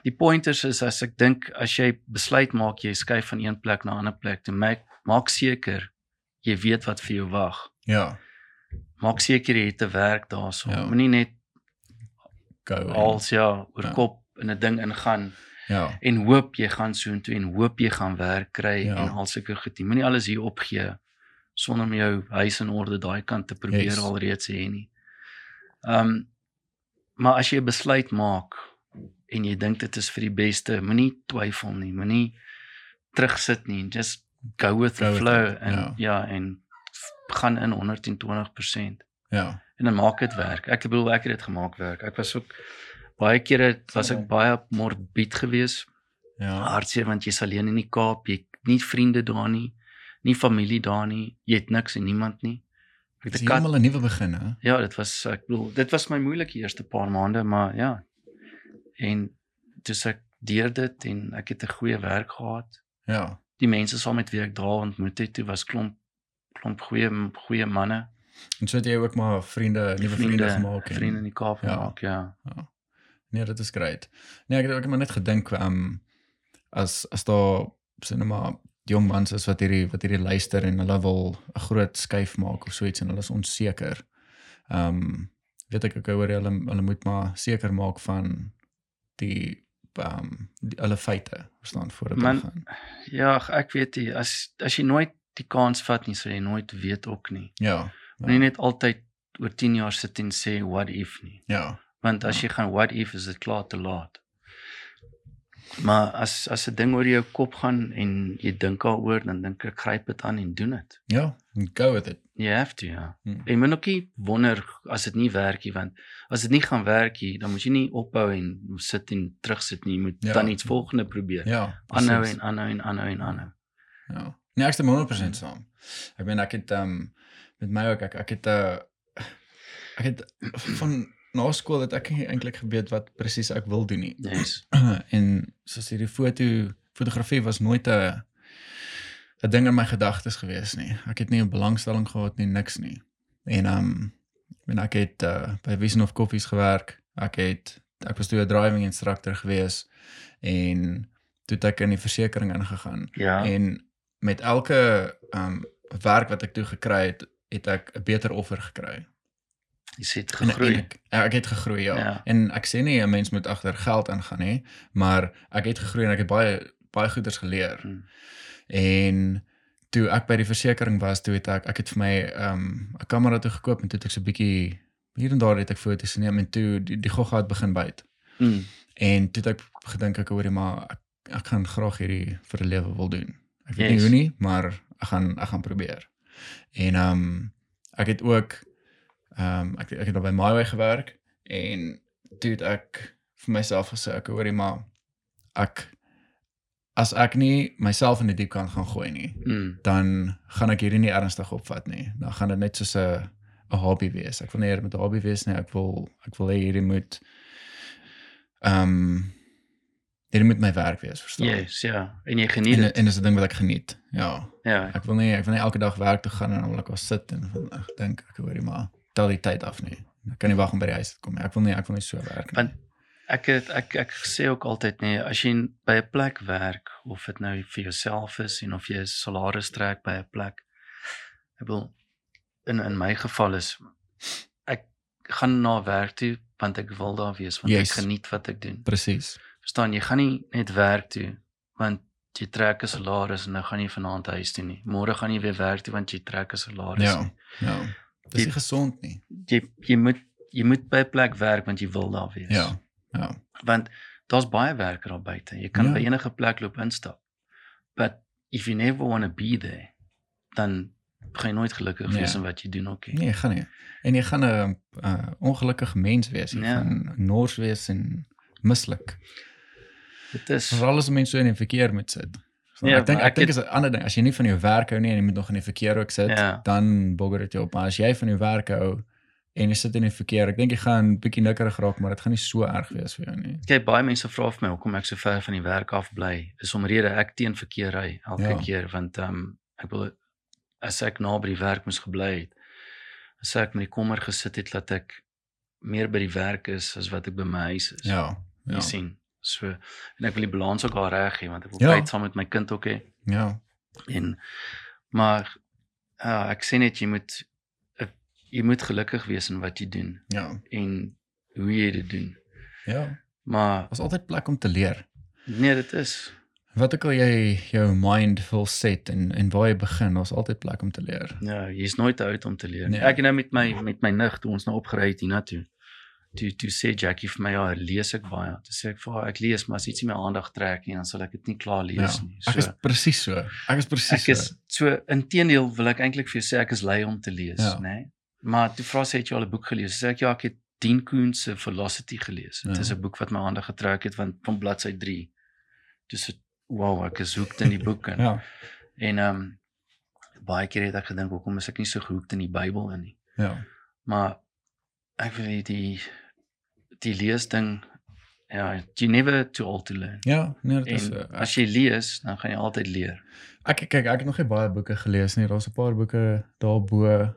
A: die pointers is as ek dink as jy besluit maak jy skuif van een plek na 'n ander plek, dan maak maak seker jy weet wat vir jou wag.
B: Ja.
A: Maak seker jy het 'n werk daarso.
B: Ja.
A: Ja. Moenie net
B: Go. en-
A: als ja oor
B: Ja.
A: ja. kop in 'n ding ingaan
B: Ja.
A: en hoop jy gaan soontoe en hoop jy gaan werk kry
B: Ja.
A: ja. en al sulke goed. nie. Moenie alles hier opgee sonder om jou huis in orde daai kant te probeer
B: Yes.
A: yes. alreeds hê nie. Ehm um, maar as jy 'n besluit maak en jy dink dit is vir die beste, moenie twyfel nie, moenie terugsit nie, just go with
B: Go
A: the
B: with
A: flow
B: it,
A: en
B: ja.
A: ja, en f- gaan in 120%.
B: Ja.
A: en dan maak dit werk. Ek bedoel ek het dit gemaak werk. Ek was ook baie kere was ek baie morbied geweest,
B: Ja.
A: hartseer want jy's alleen in die Kaap, jy het nie vriende daar nie, nie familie daar nie, jy het niks en niemand nie. Ek
B: Dit
A: het
B: is
A: 'n kat.
B: heeltemal 'n nuwe begin, hè.
A: Ja, dit was ek bedoel dit was my moeilike eerste paar maande, maar ja. En dis ek deur dit en ek het 'n goeie werk gehad.
B: Ja.
A: Die mense saam met wie ek daar ontmoet het, toe was klomp klomp goeie goeie manne,
B: En so het jy ook maar vriende, nuwe vriende, gemaak. en-
A: vriende in die Kaap
B: Ja.
A: gemaak, ja. ja.
B: Nee, dit is great. Nee, ek het ook maar net gedink ehm um, as as daar sien nou maar jong mans is wat hierdie wat hierdie luister en hulle wil 'n groot skuif maak of so iets en hulle is onseker. Ehm um, weet ek ook hoor jy, hulle hulle moet maar seker maak van die ehm um, die- hulle feite, verstaan voordat hulle
A: Man-
B: gaan.
A: Ja, ag, ek weet jy, as as jy nooit die kans vat nie, sal jy nooit weet ook nie.
B: Ja. Ja.
A: Moenie net altyd oor 10 jaar sit en sê what if nie,
B: Ja.
A: want as jy gaan what if is dit klaar te laat. Maar as as 'n ding oor jou kop gaan en jy dink daaroor, dan dink ek gryp dit aan en doen dit.
B: Ja, go with it.
A: You have to, ja.
B: Hmm.
A: Jy moet ook nie wonder as dit nie werk nie, want as dit nie gaan werk nie, dan moet jy nie ophou en sit en terugsit nie. Jy moet
B: Ja.
A: ja. dan iets volgende probeer. Ja,
B: Ja.
A: aanhou
B: precies.
A: en aanhou en aanhou en aanhou.
B: Ja. Nee, ek stem 100% saam. Ek meen ek het ehm um, met my ook ek ek het 'n uh, ek het van na skool het ek nie eintlik geweet wat presies ek wil doen nie.
A: Yes.
B: en soos hierdie foto fotografie was nooit 'n 'n ding in my gedagtes gewees nie. Ek het nie 'n belangstelling gehad nie, niks nie. En ehm um, ek meen ek het uh, by Vision of Coffees gewerk. Ek het ek was toe 'n driving instructor gewees en toe het ek in die versekerings ingegaan.
A: Ja.
B: En met elke um werk wat ek toe gekry het, het ek 'n beter offer gekry.
A: Jy het
B: En-
A: gegroei.
B: En ek, ek het gegroei, ja. ja.
A: Ja.
B: En ek sê nie 'n mens moet agter geld ingaan nie, maar ek het gegroei en ek het baie baie goeders geleer.
A: Hmm.
B: En toe ek by die versekerings was, toe het ek ek het vir my um 'n kamera toe gekoop en toe het ek so 'n bietjie hier en daar het ek foto's geneem en toe die, die gogga het begin byt.
A: Mm.
B: En toe het ek gedink ek hoorie maar ek, ek gaan graag hierdie vir 'n lewe wil doen. Ek weet yes. nie
A: Yes.
B: hoe nie, maar ek gaan ek gaan probeer. En ehm um, ek het ook ehm um, ek ek het al by Myway gewerk en toe het ek vir myself gesê ek hoorie maar ek as ek nie myself in die diep kan gaan gooi nie,
A: Mm.
B: dan gaan ek hierdie nie ernstig opvat nie. Dan gaan dit net soos 'n 'n hobby wees. Ek wil nie met 'n hobby wees nie. Ek wil ek wil hê hierdie moet ehm um, hierdie moet my werk wees, verstaan?
A: Yes, ja. En jy geniet
B: En
A: dit.
B: en dis 'n ding wat ek geniet. Ja.
A: Ja.
B: Ek wil nie ek wil nie elke dag werk toe gaan en dan wil ek al sit en van ek dink ek hoorie maar tel die tyd af nie. Ek kan nie wag om by die huis te kom nie. Ek wil nie ek wil nie so werk nie.
A: Want Ek het, ek ek sê ook altyd nee, as jy by 'n plek werk of dit nou vir jouself is en of jy 'n salaris trek by 'n plek. Ek wil in in my geval is ek gaan na werk toe want ek wil daar wees want yes.
B: Yes.
A: ek geniet wat ek doen.
B: Presies.
A: Verstaan, jy gaan nie net werk toe want jy trek 'n salaris en nou gaan jy vanaand huis toe nie. Môre gaan jy weer werk toe want jy trek 'n salaris.
B: Ja.
A: nie.
B: Ja. Dis nie gesond nie.
A: jy jy moet jy moet by 'n plek werk want jy wil daar wees.
B: Ja. Ja.
A: Want daar's baie werk daar buite. Jy kan
B: Ja.
A: ja. by enige plek loop instap. But if you never want to be there, dan gaan jy nooit gelukkig
B: Nee.
A: wees in wat jy doen ook nie.
B: Nee, jy gaan nie. En jy gaan 'n uh, ongelukkige mens wees. Jy
A: Ja.
B: gaan nors wees en mislik.
A: Dit is
B: Veral as 'n mens so in die verkeer moet sit. So, ja,
A: Ja,
B: ek dink
A: maar
B: ek
A: ek
B: dink
A: het-
B: is 'n ander ding. As jy nie van jou werk hou nie en jy moet nog in die verkeer ook sit,
A: Ja.
B: dan bogger dit jou op. Maar as jy van jou werk hou en jy sit in die verkeer, ek dink jy gaan bietjie nikkerig raak, maar dit gaan nie so erg wees vir jou nie.
A: kyk baie mense vra vir my hoekom ek so ver van die werk af bly. Is omrede ek teen verkeer ry elke
B: Ja.
A: ja. keer want ehm um, ek wil as ek na by die werk moes gebly het. As ek met die kommer gesit het dat ek meer by die werk is as wat ek by my huis is.
B: Ja.
A: ja.
B: Ja.
A: jy sien. So en ek wil die balans ook al reg hê want ek wil
B: Ja.
A: ja. tyd saam met my kind ook hê
B: Ja.
A: en maar uh, ek sê net jy moet uh, jy moet gelukkig wees in wat jy doen
B: Ja.
A: en hoe jy dit doen.
B: Ja.
A: Maar
B: Was altyd plek om te leer.
A: nee, dit is
B: Wat ook al jy jou mind wil set en en waar jy begin, daar's altyd plek om te leer.
A: ja, jy's nooit te oud om te leer.
B: Nee.
A: Nee. Ek het nou met my met my nig toe ons nou opgery het hiernatoe. toe toe sê Jackie vir my ja, lees ek baie. Toe sê ek vir haar ek lees, maar as iets nie my aandag trek nie, dan sal ek dit nie klaar
B: Ja.
A: lees nie.
B: Ek is presies so. Ek is presies
A: nee, Ek is
B: so.
A: so inteendeel wil ek eintlik vir jou sê ek is lui om te lees,
B: Ja.
A: ja. nê? Nee? Maar toe vra sy het jy al 'n boek gelees? Sê ek ja, ek het Dean Koen se Velocity gelees. Dit
B: Ja.
A: is 'n boek wat my aandag getrek het want van bladsy 3. Dis so, wow, ek is hooked in die boek en
B: Ja.
A: en ehm um, baie keer het ek gedink hoekom is ek nie so gehooked in die Bybel in nie.
B: Ja.
A: Maar ek wil die die, die leesding ja, you never too old to learn.
B: Ja, nee, dit is
A: En
B: so.
A: as jy lees, dan gaan jy altyd leer.
B: Ek kyk, ek het nog nie baie boeke gelees nie. Daar's 'n paar boeke daarbo.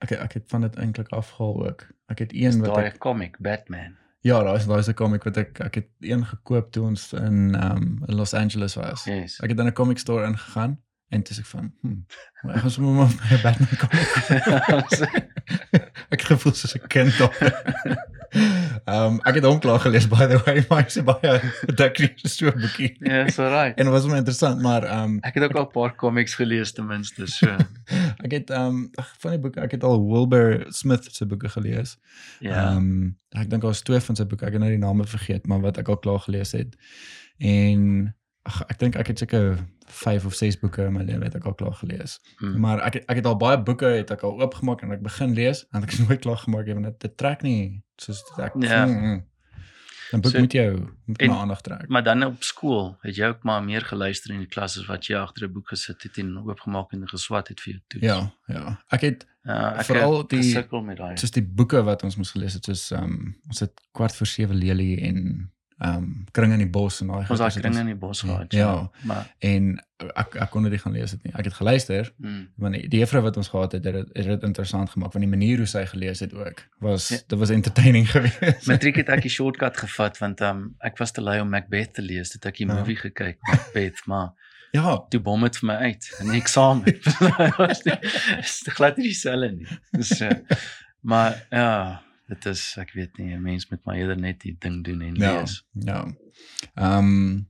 B: Ek ek het van dit eintlik afgehaal ook. Ek het een wat
A: Daai
B: ek
A: comic Batman.
B: Ja, daar's daar's 'n komiek wat ek ek het een gekoop toe ons in um in Los Angeles was.
A: Yes.
B: Ek het in 'n comic store ingegaan en toe sê ek van, hm, maar ek gaan sommer maar by 'n Batman
A: Ja,
B: comic. ek het gevoel soos 'n kind daar. Ehm um, ek het hom klaar gelees by the way, maar hy's 'n baie dikker so 'n boekie.
A: Ja, so right.
B: En dit was baie interessant, maar ehm um,
A: Ek het ook al 'n paar comics gelees ten minste, so.
B: ek het ehm um, ag, van die boeke, ek het al Wilbur Smith se boeke gelees. Ehm
A: Ja.
B: um, ek dink daar's twee van sy boeke. Ek het nou die name vergeet, maar wat ek al klaar gelees het. En ag ek dink ek het seker 5 of 6 boeke in my lewe het ek al klaar gelees.
A: Mm.
B: Maar ek het, ek het al baie boeke het ek al oopgemaak en ek begin lees en ek is nooit klaar gemaak nie want dit- dit trek nie soos dit ek
A: Ja.
B: Mm, mm. 'n boek
A: So-
B: so, moet jou moet my
A: en-
B: aandag trek.
A: Maar dan op skool het jy ook maar meer geluister in die klasse as wat jy agter 'n boek gesit het en oopgemaak en geswat het vir jou toets.
B: Ja, ja. Ek het
A: Uh, ek
B: Vooral
A: het
B: die-
A: gesukkel met daai.
B: soos die boeke wat ons moes gelees het soos ehm um, ons het kwart voor 7 lelie en ehm um, kring in die bos en daai goed,
A: Ons daai
B: ons het
A: kringe in die bos gehad.
B: Ja.
A: Maar
B: en ek ek kon dit nie gaan lees het nie. Ek het geluister,
A: mm,
B: want die, die juffrou wat ons gehad het, het dit- het dit interessant gemaak want die manier hoe sy gelees het ook was
A: Ja.
B: ja. dit was entertaining geweest.
A: matriek het ek die shortcut gevat want um, ek was te lui om Macbeth te lees, dit ek die
B: Ja.
A: movie gekyk, Macbeth, maar
B: ja,
A: toe bom dit vir my uit in die eksamen. Was nie- Is glad nie dieselfde nie. Dis uh, maar ja, dit is ek weet nie, 'n mens moet maar eerder net die ding doen en
B: Ja.
A: lees.
B: ja. Ehm um,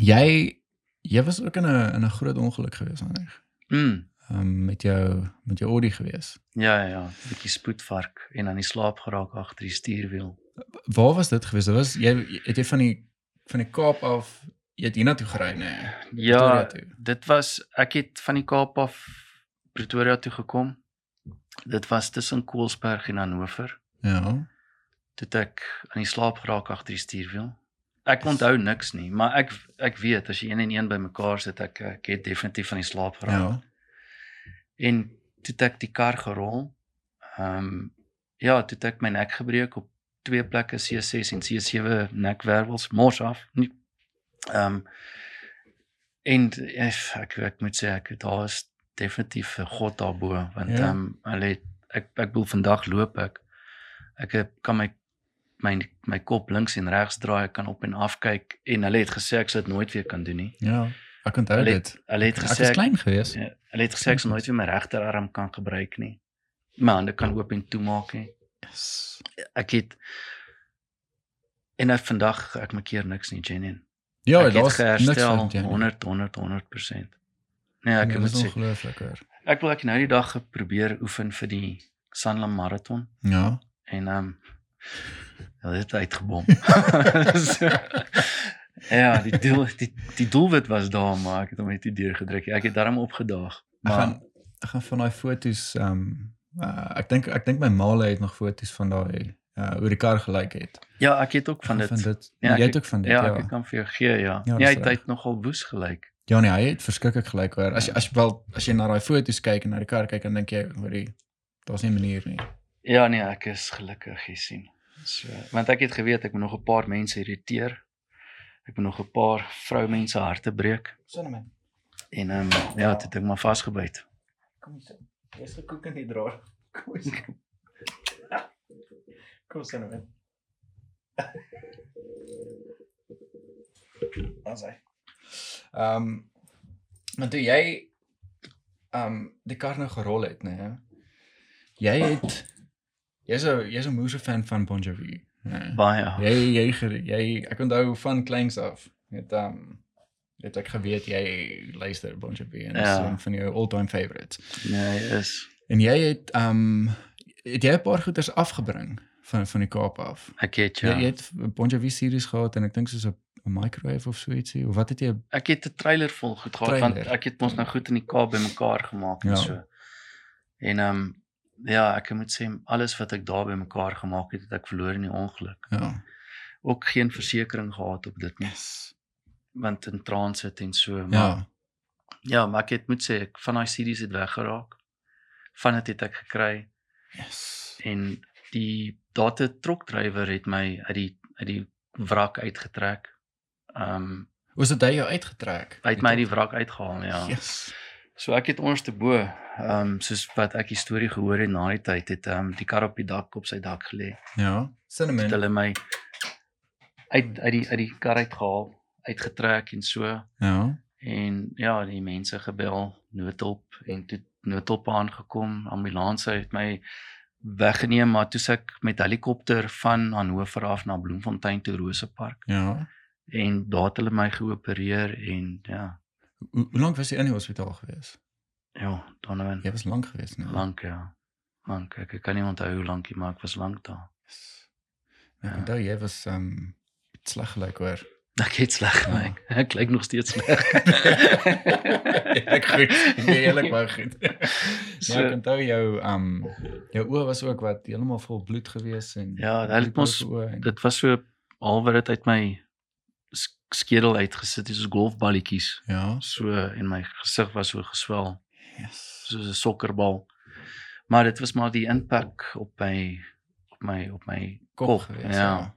B: jy jy was ook in 'n in 'n groot ongeluk geweest aanreg.
A: Ja. Mm,
B: Ehm um, met jou met jou Audi geweest.
A: ja ja ja, 'n bietjie spoedvark en aan die slaap geraak agter die stuurwiel.
B: Waar was dit geweest? Dit was jy het jy van die van die Kaap af jy het hiernatoe gery nê. Nee. Pretoria
A: Ja,
B: toe.
A: dit was ek het van die Kaap af Pretoria toe gekom. Dit was tussen Koelsberg en Hannover.
B: Ja.
A: toe het ek aan die slaap geraak agter die stuurwiel. Ek onthou niks nie, maar ek ek weet as jy een en een bymekaar sit, ek ek het definitief aan die slaap geraak.
B: Ja.
A: Ja. En toe het ek die kar gerol. Ehm um, ja, toe het ek my nek gebreek op twee plekke C6 en C7 nekwervels mors af. Nie- Ehm um, en eh, ek ek moet sê ek daar is definitief 'n God daarbo want
B: Ja.
A: ehm um, hulle het, ek ek bedoel vandag loop ek ek heb- kan my my my kop links en regs draai, ek kan op en af kyk en hulle het gesê ek sal dit nooit weer kan doen nie.
B: Ja. Ek onthou
A: Hulle
B: dit.
A: het hulle het
B: Ek
A: gesê
B: was
A: ek,
B: klein geweest.
A: ja, hulle het gesê ek sal nooit weer my regterarm kan gebruik nie. My hande kan oop en toe maak nie.
B: Yes.
A: Ek het en ek vandag ek maak hier niks nie, Jenien.
B: Ja,
A: ek het
B: daar's
A: geherstel
B: niks ja. van Jenny.
A: 100 100 100%. Nee, ek
B: Nee,
A: moet
B: dis
A: sê
B: ongelooflik hoor.
A: ek wil ek nou die dag probeer oefen vir die Sanlam marathon.
B: Ja.
A: En ehm um, hulle het uitgebom. so, ja, die doel die die doelwit was daar, maar ek het hom net nie deurgedruk nie. Ek het daarom opgedaag.
B: Ek
A: Maar
B: gaan ek gaan van daai foto's ehm um, uh, ek dink ek dink my maale het nog foto's van daai uh, hoe die kar gelyk het.
A: ja, ek het ook van
B: Van
A: dit.
B: dit
A: Ja,
B: ja, jy
A: ek
B: het ook van dit.
A: Ja,
B: Ja.
A: ek
B: Ja,
A: kan vir jou gee, ja. Ja,
B: Ja, dis
A: hy het
B: reg.
A: hy het nogal woes gelyk.
B: ja nee, hy het verskriklik gelyk hoor.
A: Ja.
B: As jy as jy wel as jy na daai foto's kyk en na die kar kyk dan dink jy, hoorie, daar's nie 'n manier nie.
A: Ja, nee, ek is gelukkig jy sien. So, want ek het geweet ek moet nog 'n paar mense irriteer. Ek moet nog 'n paar vroumense harte breek
B: Sonne my.
A: en ehm um, ja, dit het ek maar vasgebyt.
B: Kom sit. Jy's gekook in die draad. Kom sit. Kom sit nou. Asai. Ehm maar toe jy ehm die kar nou gerol het, né? Nee, jy het jy's 'n jy's 'n moose fan van Bon Jovi. né?
A: Baie.
B: Jy jy ger- jy ek onthou van kleins af het um het ek geweet jy luister Bon Jovi en ja.
A: Ja.
B: um, van jou all-time favorites.
A: Nee, hy is
B: ehm, En jy het um het jy 'n paar goeders afgebring van van die Kaap af.
A: Ek het
B: Ja.
A: ja.
B: Jy, jy het 'n Bon Jovi series gehad en ek dink soos 'n 'n microwave of so ietsie of wat het jy
A: Ek het 'n trailer vol goed gehad want
B: Trailer.
A: ek het mos nou goed in die Kaap bymekaar gemaak
B: Ja.
A: en so. En ehm um, ja, ek moet sê alles wat ek daar bymekaar gemaak het, het ek verloor in die ongeluk.
B: ja.
A: Ook geen versekering gehad op dit nie,
B: Yes.
A: want in transit en so, maar ja,
B: Ja.
A: ja maar ek het moet sê ek van daai series het weggeraak. Van dit het ek gekry
B: Yes.
A: en die data trokdrywer het my uit die uit die wrak uitgetrek. Ehm um,
B: Was dit hy jou uitgetrek?
A: hy het my uit die wrak uitgehaal, ja.
B: Yes.
A: So ek het onderste bo, ehm um, soos wat ek die storie gehoor het na die tyd het ehm um, die kar op die dak op sy dak gelê.
B: Ja.
A: Het
B: Cinnamon.
A: hulle my uit uit die uit die kar uitgehaal, uitgetrek en so
B: Ja.
A: en ja, die mense gebel, noodhulp en toe noodhulp aangekom, ambulanse het my weggeneem, maar toe ek met helikopter van Hannover af na Bloemfontein toe Rosepark
B: Ja.
A: en daar het hulle my geopereer en ja,
B: Hoe, hoe lank was jy in die hospitaal gewees?
A: ja, daarna
B: Jy was lank gewees, nee.
A: Lank ja. Lank. Ek, ek kan nie onthou hoe lank nie, maar ek was lank daar.
B: Yes. Nou, Ek
A: Ja.
B: onthou jy was ehm um, sleg gelyk hoor.
A: Ek het sleg
B: Ja.
A: gelyk. Ek lyk nog steeds sleg.
B: ek goed. Nee, eerlik maar goed.
A: So-
B: Maar ek onthou jou ehm um, jou oë was ook wat heeltemal vol bloed gewees en
A: Ja, hulle het mos-
B: oë en-
A: Dit was so alwer dit uit my sk- skedel uitgesit, dis soos golfballetjies.
B: ja.
A: So en my gesig was so geswel,
B: Yes.
A: soos 'n sokkerbal. Maar dit was maar die impak op my op my op my
B: Kop gewees.
A: ja.
B: Ja.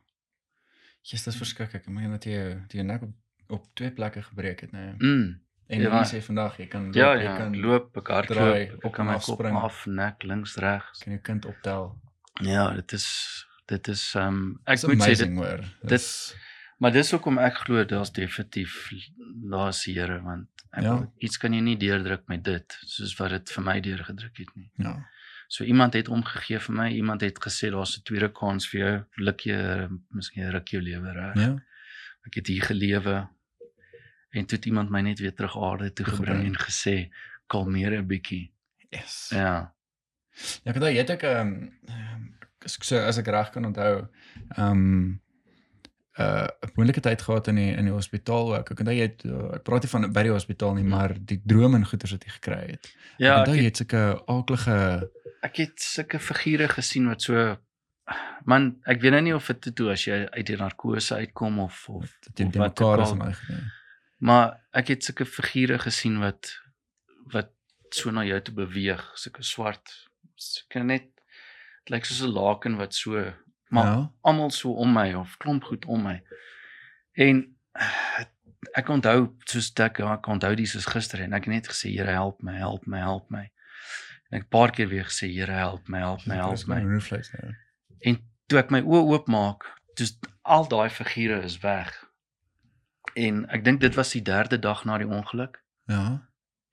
B: Jesus, dit is verskriklik. Ek meen dat jy jou- die jou nek op op twee plekke gebreek het, nee.
A: Mm.
B: En
A: Ja,
B: ja,
A: maar-
B: jy sê vandag jy kan loop,
A: Ja,
B: jy
A: ja,
B: kan
A: kan loop, ek
B: draai,
A: hardloop,
B: op
A: ek kan
B: en
A: my
B: af
A: kop
B: spring.
A: af, nek, links, regs.
B: kan jou kind optel.
A: Ja, dit is dit is ehm um, ek
B: Dis
A: moet sê dit
B: amazing, hoor.
A: dit- Maar dis hoekom ek glo daar's definitief daar's die Here want ek,
B: Ja.
A: ja. iets kan jy nie deurdruk met dit soos wat dit vir my deurgedruk het nie.
B: ja.
A: So iemand het omgegee vir my, iemand het gesê daar's 'n tweede kans vir jou, luk jy miskien ruk jou lewe reg.
B: Ja.
A: Ek het hier gelewe en toe het iemand my net weer terug aarde toe gebring en gesê kalmeer 'n bietjie.
B: Yes.
A: Ja.
B: Ja, ek dink jy het ook ehm ehm, as ek so as ek reg kan onthou, ehm um, 'n uh, moeilike tyd gehad in die in die hospitaal ook. Ek onthou jy het uh, ek praat nie van by die hospitaal nie, maar die drome en goeters wat jy gekry het. ek
A: Hmm. Ja, ek
B: onthou
A: het,
B: jy het sulke aaklige
A: ek het sulke figure gesien wat so man, ek weet nou nie of dit toe- toe as jy uit die narkose uitkom of of
B: dat jy
A: of
B: die
A: wat
B: mekaar
A: ook
B: is
A: al.
B: en daai goed. nee.
A: Maar ek het sulke figure gesien wat wat so na jou toe beweeg, sulke swart, sulke net dit lyk soos 'n laken wat so maar ja.
B: Ja.
A: almal so om my of klomp goed om my. En eh, ek onthou soos ek ja, ek onthou dis is gister en ek het net gesê Here help my, help my, help my. En ek 'n paar keer weer gesê Here help my, help my, help my.
B: Roofvleis nou.
A: En toe ek my oë oopmaak, dis al daai figure is weg. En ek dink dit was die derde dag na die ongeluk
B: Ja.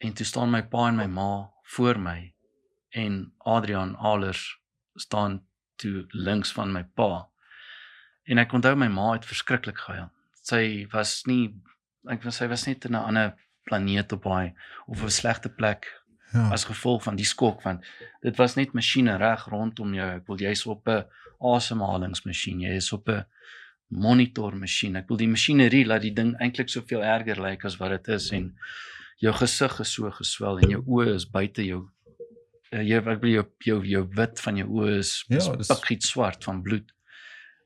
A: en toe staan my pa en my ma voor my en Adrian Alers staan toe links van my pa. En ek onthou my ma het verskriklik gehuil. Sy was nie ek was sy was net in 'n ander planeet op haar of 'n slegte plek
B: Ja.
A: as gevolg van die skok want dit was net masjiene reg rondom jou. Ek wil jy's op 'n asemhalingsmasjien, jy is op 'n monitor masjien. Ek wil die masjinerie laat die ding eintlik soveel erger lyk as wat dit is en jou gesig is so geswel en jou oë is buite jou eh, jy ek bedoel jou jou jou wit van jou oë is
B: Ja,
A: is
B: dis-
A: pikgiet swart van bloed.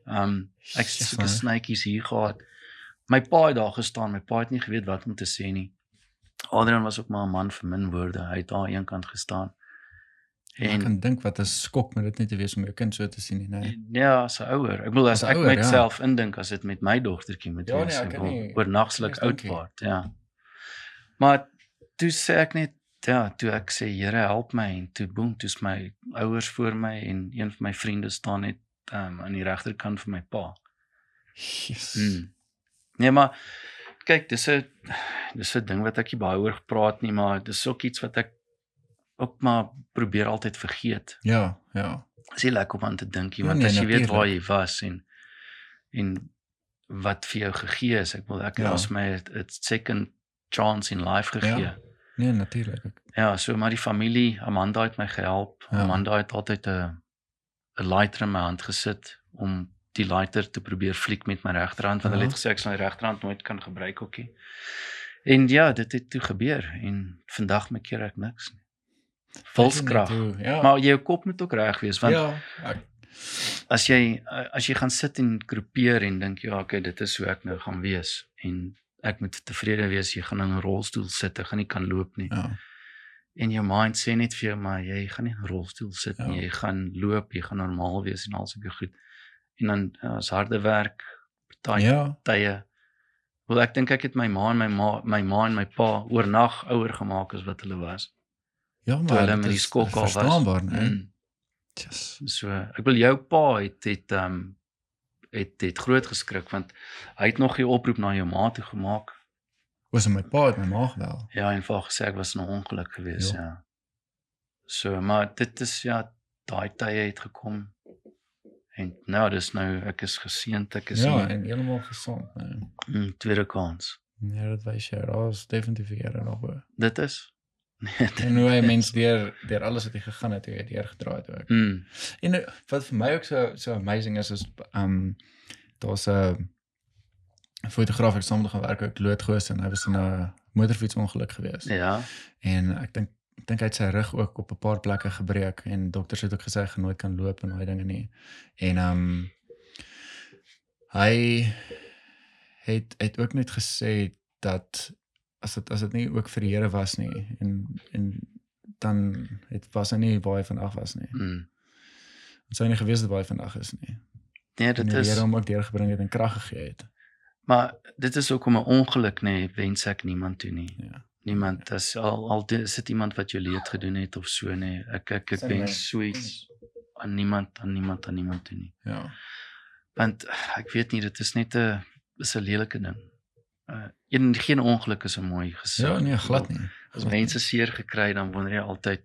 A: Ehm um, ek het
B: Jesus,
A: sulke
B: man.
A: snytjies hier gehad. My pa het daar gestaan, my pa het nie geweet wat om te sê nie. Adrian was ook maar 'n man van min woorde. Hy het daar aan een kant gestaan.
B: en ek
A: En
B: kan dink wat 'n skok moet dit net wees om jou kind so te sien nie, nee.
A: ja, as 'n ouer. Ek bedoel as,
B: As 'n
A: ek
B: ouer, ja.
A: myself ja. indink as dit met my dogtertjie moet
B: Ja, nee,
A: wees,
B: ek
A: ek
B: kan
A: wil
B: nie-
A: oornagslik
B: ek kan nie
A: oud
B: dink nie.
A: word, ja. Maar toe sê ek net ja, toe ek sê Here help my en toe boem, toe's my ouers voor my en een van my vriende staan net um, aan die regterkant van my pa.
B: Yes.
A: Mm. Nee, maar kyk, dis 'n dis 'n ding wat ek nie baie oor gepraat nie, maar dis ook iets wat ek ook maar probeer altyd vergeet.
B: Ja, ja.
A: Dit is nie lekker om aan te dink nie,
B: Ja,
A: want
B: nee,
A: as jy weet
B: natuurlijk.
A: waar jy was en en wat vir jou gegee is, ek wil ek
B: Ja.
A: ja. as my 'n second chance in life gegee. Ja.
B: Nee, natuurlik.
A: ja, so maar die familie, Amanda het my gehelp.
B: Ja.
A: Ja. Amanda het altyd 'n 'n lighter in my hand gesit om die lighter te probeer fliek met my regterhand want hulle het gesê
B: Ja.
A: ek sal my regterhand nooit kan gebruik ookie. En ja, dit het toe gebeur en vandag maak ek niks nie. Wilskrag.
B: Ja.
A: Maar jou kop moet ook reg wees want
B: ja, ek,
A: as jy uh, as jy gaan sit en groepeer en dink ja, okay, dit is hoe ek nou gaan wees en ek moet tevrede wees jy gaan in 'n rolstoel sit, ek gaan nie kan loop nie.
B: ja.
A: En jou mind sê net vir jou maar jy gaan nie in 'n rolstoel sit nie,
B: Ja.
A: jy gaan loop, jy gaan normaal wees en alles op jou goed. En dan ja, is harde werk, party
B: Ja.
A: tye. Wel ek dink ek het my ma en my ma, my ma en my pa oornag ouer gemaak as wat hulle was.
B: Ja,
A: Toe
B: maar
A: hulle
B: dit
A: met die
B: is
A: skok al was.
B: Verstaanbaar, nee. né?
A: Mm.
B: Yes.
A: So, ek wil jou pa het het ehm um, het het groot geskrik want hy het nog 'n oproep na jou ma toe gemaak.
B: Was in my pa het my ma gebel.
A: Ja, en vir haar gesê ek was in 'n ongeluk geweest,
B: Ja.
A: ja. ja. So, maar dit is ja, daai tye het gekom. En nou, dis nou ek is geseënd, ek is
B: Ja,
A: ja,
B: en heeltemal gesond, né?
A: in tweede kans.
B: Ja, dat wys jy, daar's definitief jare nog oor.
A: Dit is Nee, dit-
B: En hoe hy mens deur deur alles wat hy gegaan het, hoe hy deurgedraai het ook.
A: Mm,
B: En eh, wat vir my ook so so amazing is is um daar's 'n fotograaf ek saam met hom gewerk het, Loot Goos en hy was in 'n motorfietsongeluk gewees.
A: ja.
B: En ek dink ek dink hy het sy rug ook op 'n paar plekke gebreek en dokters het ook gesê hy gaan nooit kan loop en daai dinge nie. En um hy het het ook net gesê dat as dit as dit nie ook vir die Here was nie en en dan het was hy nie waar hy vandag was nie.
A: Mm.
B: Ons sou nie geweet het waar hy vandag is nie.
A: Nee,
B: Dit
A: dit
B: en die Here
A: is
B: hom ook deurgebring het en krag gegee het.
A: maar dit is ook om 'n ongeluk nê, nee, wens ek niemand toe nie.
B: Ja.
A: Niemand as al al di- sit iemand wat jou leed gedoen het of so nê. Nee. Ek ek ek
B: Sin, nee.
A: wens so iets aan niemand aan niemand aan niemand toe nie.
B: Ja.
A: want ah, ek weet nie dit is net 'n is 'n lelike ding. Uh een geen ongeluk is 'n mooi gesig.
B: Ja, nee, glad nie.
A: As mense seer gekry dan wonder jy altyd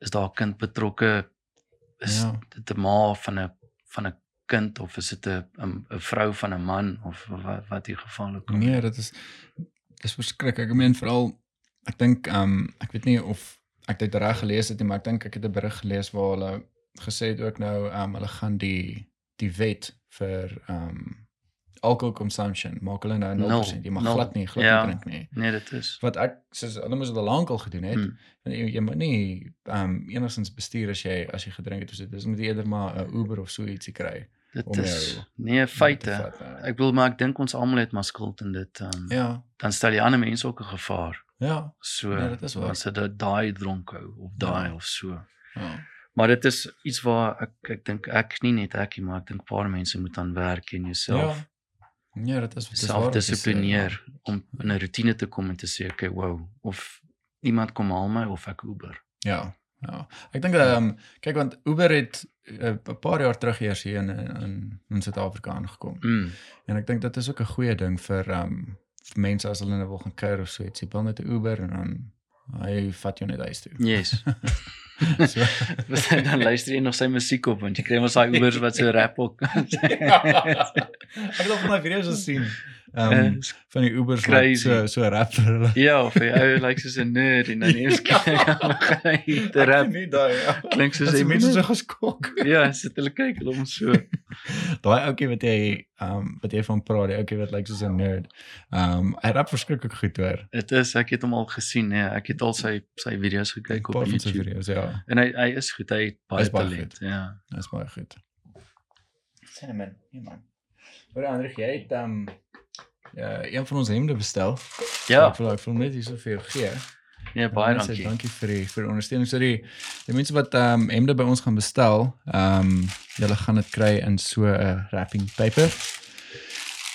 A: is daar 'n kind betrokke? Is ja.
B: Ja.
A: dit 'n ma van 'n van 'n kind of is dit 'n 'n- 'n vrou van 'n man of wat wat hier geval ook al?
B: Nee, dit is dis verskriklik. Ek meen veral ek dink ehm um, ek weet nie of ek dit reg gelees het nie, maar ek dink ek het 'n berig gelees waar hulle gesê het ook nou ehm um, hulle gaan die die wet vir ehm um, alcohol consumption maak hulle nou 0%.
A: Nul,
B: jy mag
A: nul.
B: glad nie glad
A: Ja.
B: nie drink nie.
A: Nee, dit is.
B: Wat ek soos hulle moes dit al lank al gedoen het.
A: Hmm.
B: Want jy, jy moet nie ehm um, enigstens bestuur as jy as jy gedrink het of so. Dis moet jy eerder maar 'n Uber of so ietsie kry.
A: Dit
B: om
A: is
B: jou
A: nee,
B: om te
A: feite.
B: vat, nou.
A: Ek wil maar ek dink ons almal het maar skuld in dit. Um, ja.
B: Ja.
A: Dan stel jy ander mense ook 'n gevaar.
B: Ja.
A: So
B: Nee, dit is waar.
A: as dit daai dronk hou of daai
B: Ja.
A: ja. of so.
B: Ja.
A: Maar dit is iets waar ek ek dink ek nie net ek nie, maar ek dink paar mense moet aan werk en jouself
B: Ja. Ja, dit is eh, dit is waar
A: self
B: wat jy sê,
A: dissiplineer om in 'n rotine te kom en te sê okay, wow, of iemand kom haal my of ek Uber.
B: Ja. Ja. Ek dink ehm um, kyk want Uber het eh, 'n paar jaar terug eers hier in in in Suid-Afrika aangekom.
A: Mm.
B: En ek dink dit is ook 'n goeie ding vir ehm um, vir mense as hulle nou wil gaan kuier of so iets. Jy bel net 'n Uber en dan hy vat jou net huis toe.
A: Yes.
B: so.
A: dan luister jy nog sy musiek op want jy kry mos daai Ubers wat so rap ook.
B: ek het al van daai video's gesien. Ehm um, van die Ubers wat
A: Eh, Crazy.
B: so so rap vir hulle.
A: ja, of jy ou lyk soos 'n nerd en dan eers kyk hy te
B: Ja. Ek
A: rap.
B: ken Nie daai. ja.
A: Klink soos
B: Dat die
A: hy
B: mense so geskok.
A: Ja, sit hulle kyk hulle om so.
B: Daai ouetjie wat jy ehm um, wat jy van praat, die ouetjie wat lyk soos 'n nerd. Ehm um, hy rap verskriklik goed hoor.
A: Dit is ek het hom al gesien, nee, ek het al sy sy video's gekyk op
B: Paar van sy
A: YouTube.
B: video's, ja.
A: En hy hy is goed, hy het baie,
B: is baie
A: talent, ja.
B: Dis baie goed. Cinnamon, nee man. Hoor Andre, jy het ehm um, ja, een van ons hemde bestel.
A: Ja.
B: Ek wil ek wil net hier so vir jou gee.
A: Nee, baie
B: Mense,
A: dankie.
B: Dankie vir die vir die ondersteuning. So die die mense wat ehm um, hemde by ons gaan bestel, ehm um, julle gaan dit kry in so 'n wrapping paper.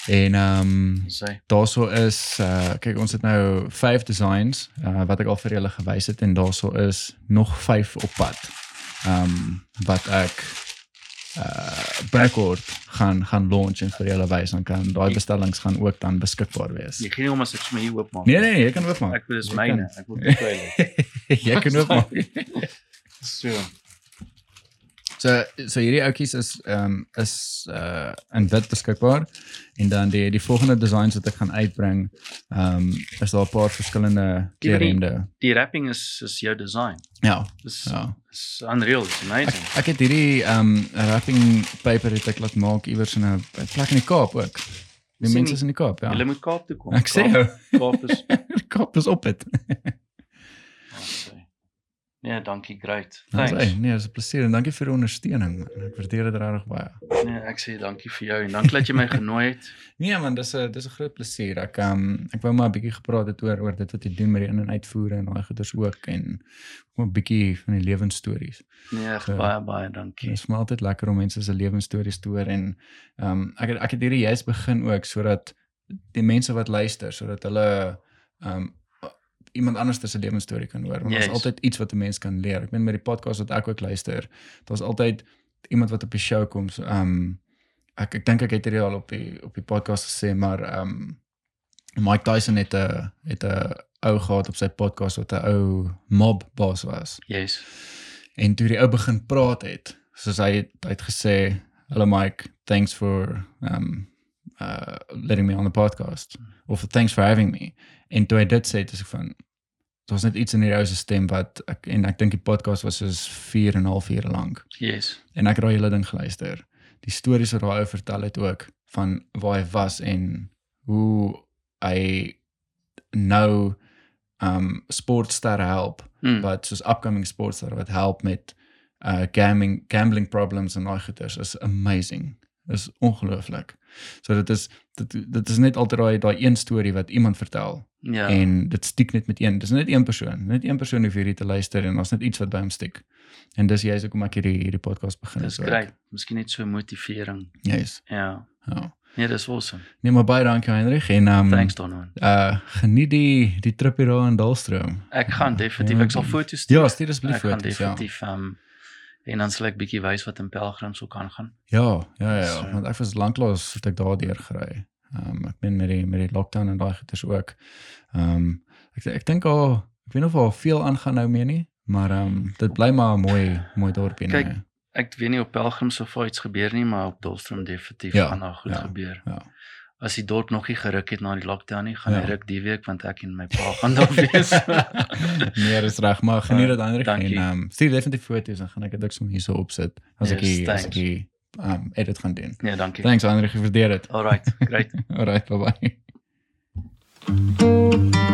B: En ehm um,
A: Sy.
B: Daarso is uh kyk ons het nou 5 designs uh wat ek al vir julle gewys het en daarso is nog 5 op pad. Um wat ek uh binnekort gaan gaan launch en vir julle wys dan kan daai bestellings gaan ook dan beskikbaar wees.
A: Jy gee nie om as ek sommer hier oopmaak.
B: Nee nee, jy kan oopmaak.
A: Ek wil dis
B: Jy
A: myne, ek wil dit kry.
B: kan- Jy kan oopmaak.
A: So.
B: So so hierdie outjies is ehm um, is uh in wit beskikbaar en dan die die volgende designs wat ek gaan uitbring ehm um, is daar 'n paar verskillende
A: Die wat die-
B: kleurende.
A: Die wrapping is is jou design.
B: Ja,
A: Dis
B: ja.
A: is unreal, it's
B: Ek,
A: amazing.
B: ek het hierdie ehm um, wrapping paper het ek laat maak iewers in 'n plek in die Kaap ook. Die
A: Sien
B: mense
A: nie.
B: is in die Kaap,
A: Hulle
B: ja.
A: moet Kaap toe kom.
B: Ek sê jou,
A: Kaap is
B: die Kaap is op dit.
A: Okay. Nee, dankie, great.
B: Dis
A: Thanks.
B: nee, dis 'n plesier en dankie vir die ondersteuning. Man. Ek waardeer dit regtig baie.
A: Nee, ek sê dankie vir jou en dankie dat jy my genooi het.
B: Nee man, dis 'n dis 'n groot plesier. Ek um ek wou maar 'n bietjie gepraat het oor oor dit wat jy doen met die in en uitvoere en daai goeders ook en ook maar 'n bietjie van die lewensstories.
A: Nee, echt,
B: Ja.
A: baie baie dankie.
B: Dit is maar altyd lekker om mense se lewensstories te hoor en ehm um, ek het, ek het hierdie juist begin ook sodat die mense wat luister sodat hulle ehm um, iemand anders se lewensstorie kan hoor. Want daar's
A: Juis.
B: altyd iets wat 'n mens kan leer. Ek meen met die podcast wat ek ook luister, daar's altyd iemand wat op die show kom. so, Ehm um, ek ek dink ek het dit al op die op die podcast gesê, maar ehm um, Mike Tyson het 'n het 'n ou gehad op sy podcast wat 'n ou mob baas was.
A: Yes.
B: En toe die ou begin praat het, soos hy het, hy het gesê, "Hello Mike, thanks for um uh letting me on the podcast of thanks for having me." En toe hy dit sê, dis ek van daar's net iets in hierdie ou se stem wat ek en ek dink die podcast was soos 4 en 'n half ure lank
A: Yes.
B: en ek het daai hele ding geluister. Die stories wat daai ou vertel het ook van waar hy was en hoe hy nou um sportsterre help
A: Mm.
B: wat soos upcoming sportster wat help met uh gambling gambling problems en daai goeters is amazing. Is ongelooflik. So dit is dit dit is net altyd daai daai een storie wat iemand vertel
A: Ja.
B: ja. en dit stiek net met een. Dis net een persoon. Net een persoon hoef hierdie te luister en daar's net iets wat by hom stiek. En dis juist hoekom ek hierdie hierdie podcast begin
A: Dis great. Miskien net so motivering.
B: Jy's.
A: Ja.
B: Ja.
A: Nee, dis awesome.
B: Nee, maar baie dankie Heinrich en um
A: Thanks Donovan.
B: uh geniet die die trip hier daar in Dalstroom.
A: Ek gaan definitief ek sal foto's
B: Ja, stuur asseblief
A: ek gaan
B: foto's. Ja.
A: definitief ehm um, en dan sal ek bietjie wys wat in pelgrims ook aangaan.
B: Ja, ja ja,
A: So.
B: so. want ek was lanklaas het ek daardeur gery. Ehm um, ek meen met die met die lockdown en daai goeters ook. Ehm um, ek ek dink al ek weet nog al veel aangaan nou meer nie, maar ehm um, dit bly maar 'n mooi mooi dorpie
A: Kyk,
B: nou.
A: Ek weet nie op pelgrims of iets gebeur nie, maar op Dolstrom definitief
B: Ja,
A: gaan daar goed
B: ja,
A: gebeur.
B: ja.
A: As die dorp nog nie geruk het na die lockdown nie, gaan hy
B: Ja.
A: ruk die week want ek en my pa gaan daar wees.
B: nee, dis reg, maar geniet dit ander en
A: dankie.
B: ehm um, stuur definitief foto's dan gaan ek dit ook sommer hierso opsit as ek
A: Yes,
B: hier as ek
A: thanks.
B: hier ehm um, edit gaan doen.
A: nee, dankie.
B: Thanks Andre, ek waardeer dit.
A: All right. Great.
B: Alright, bye bye.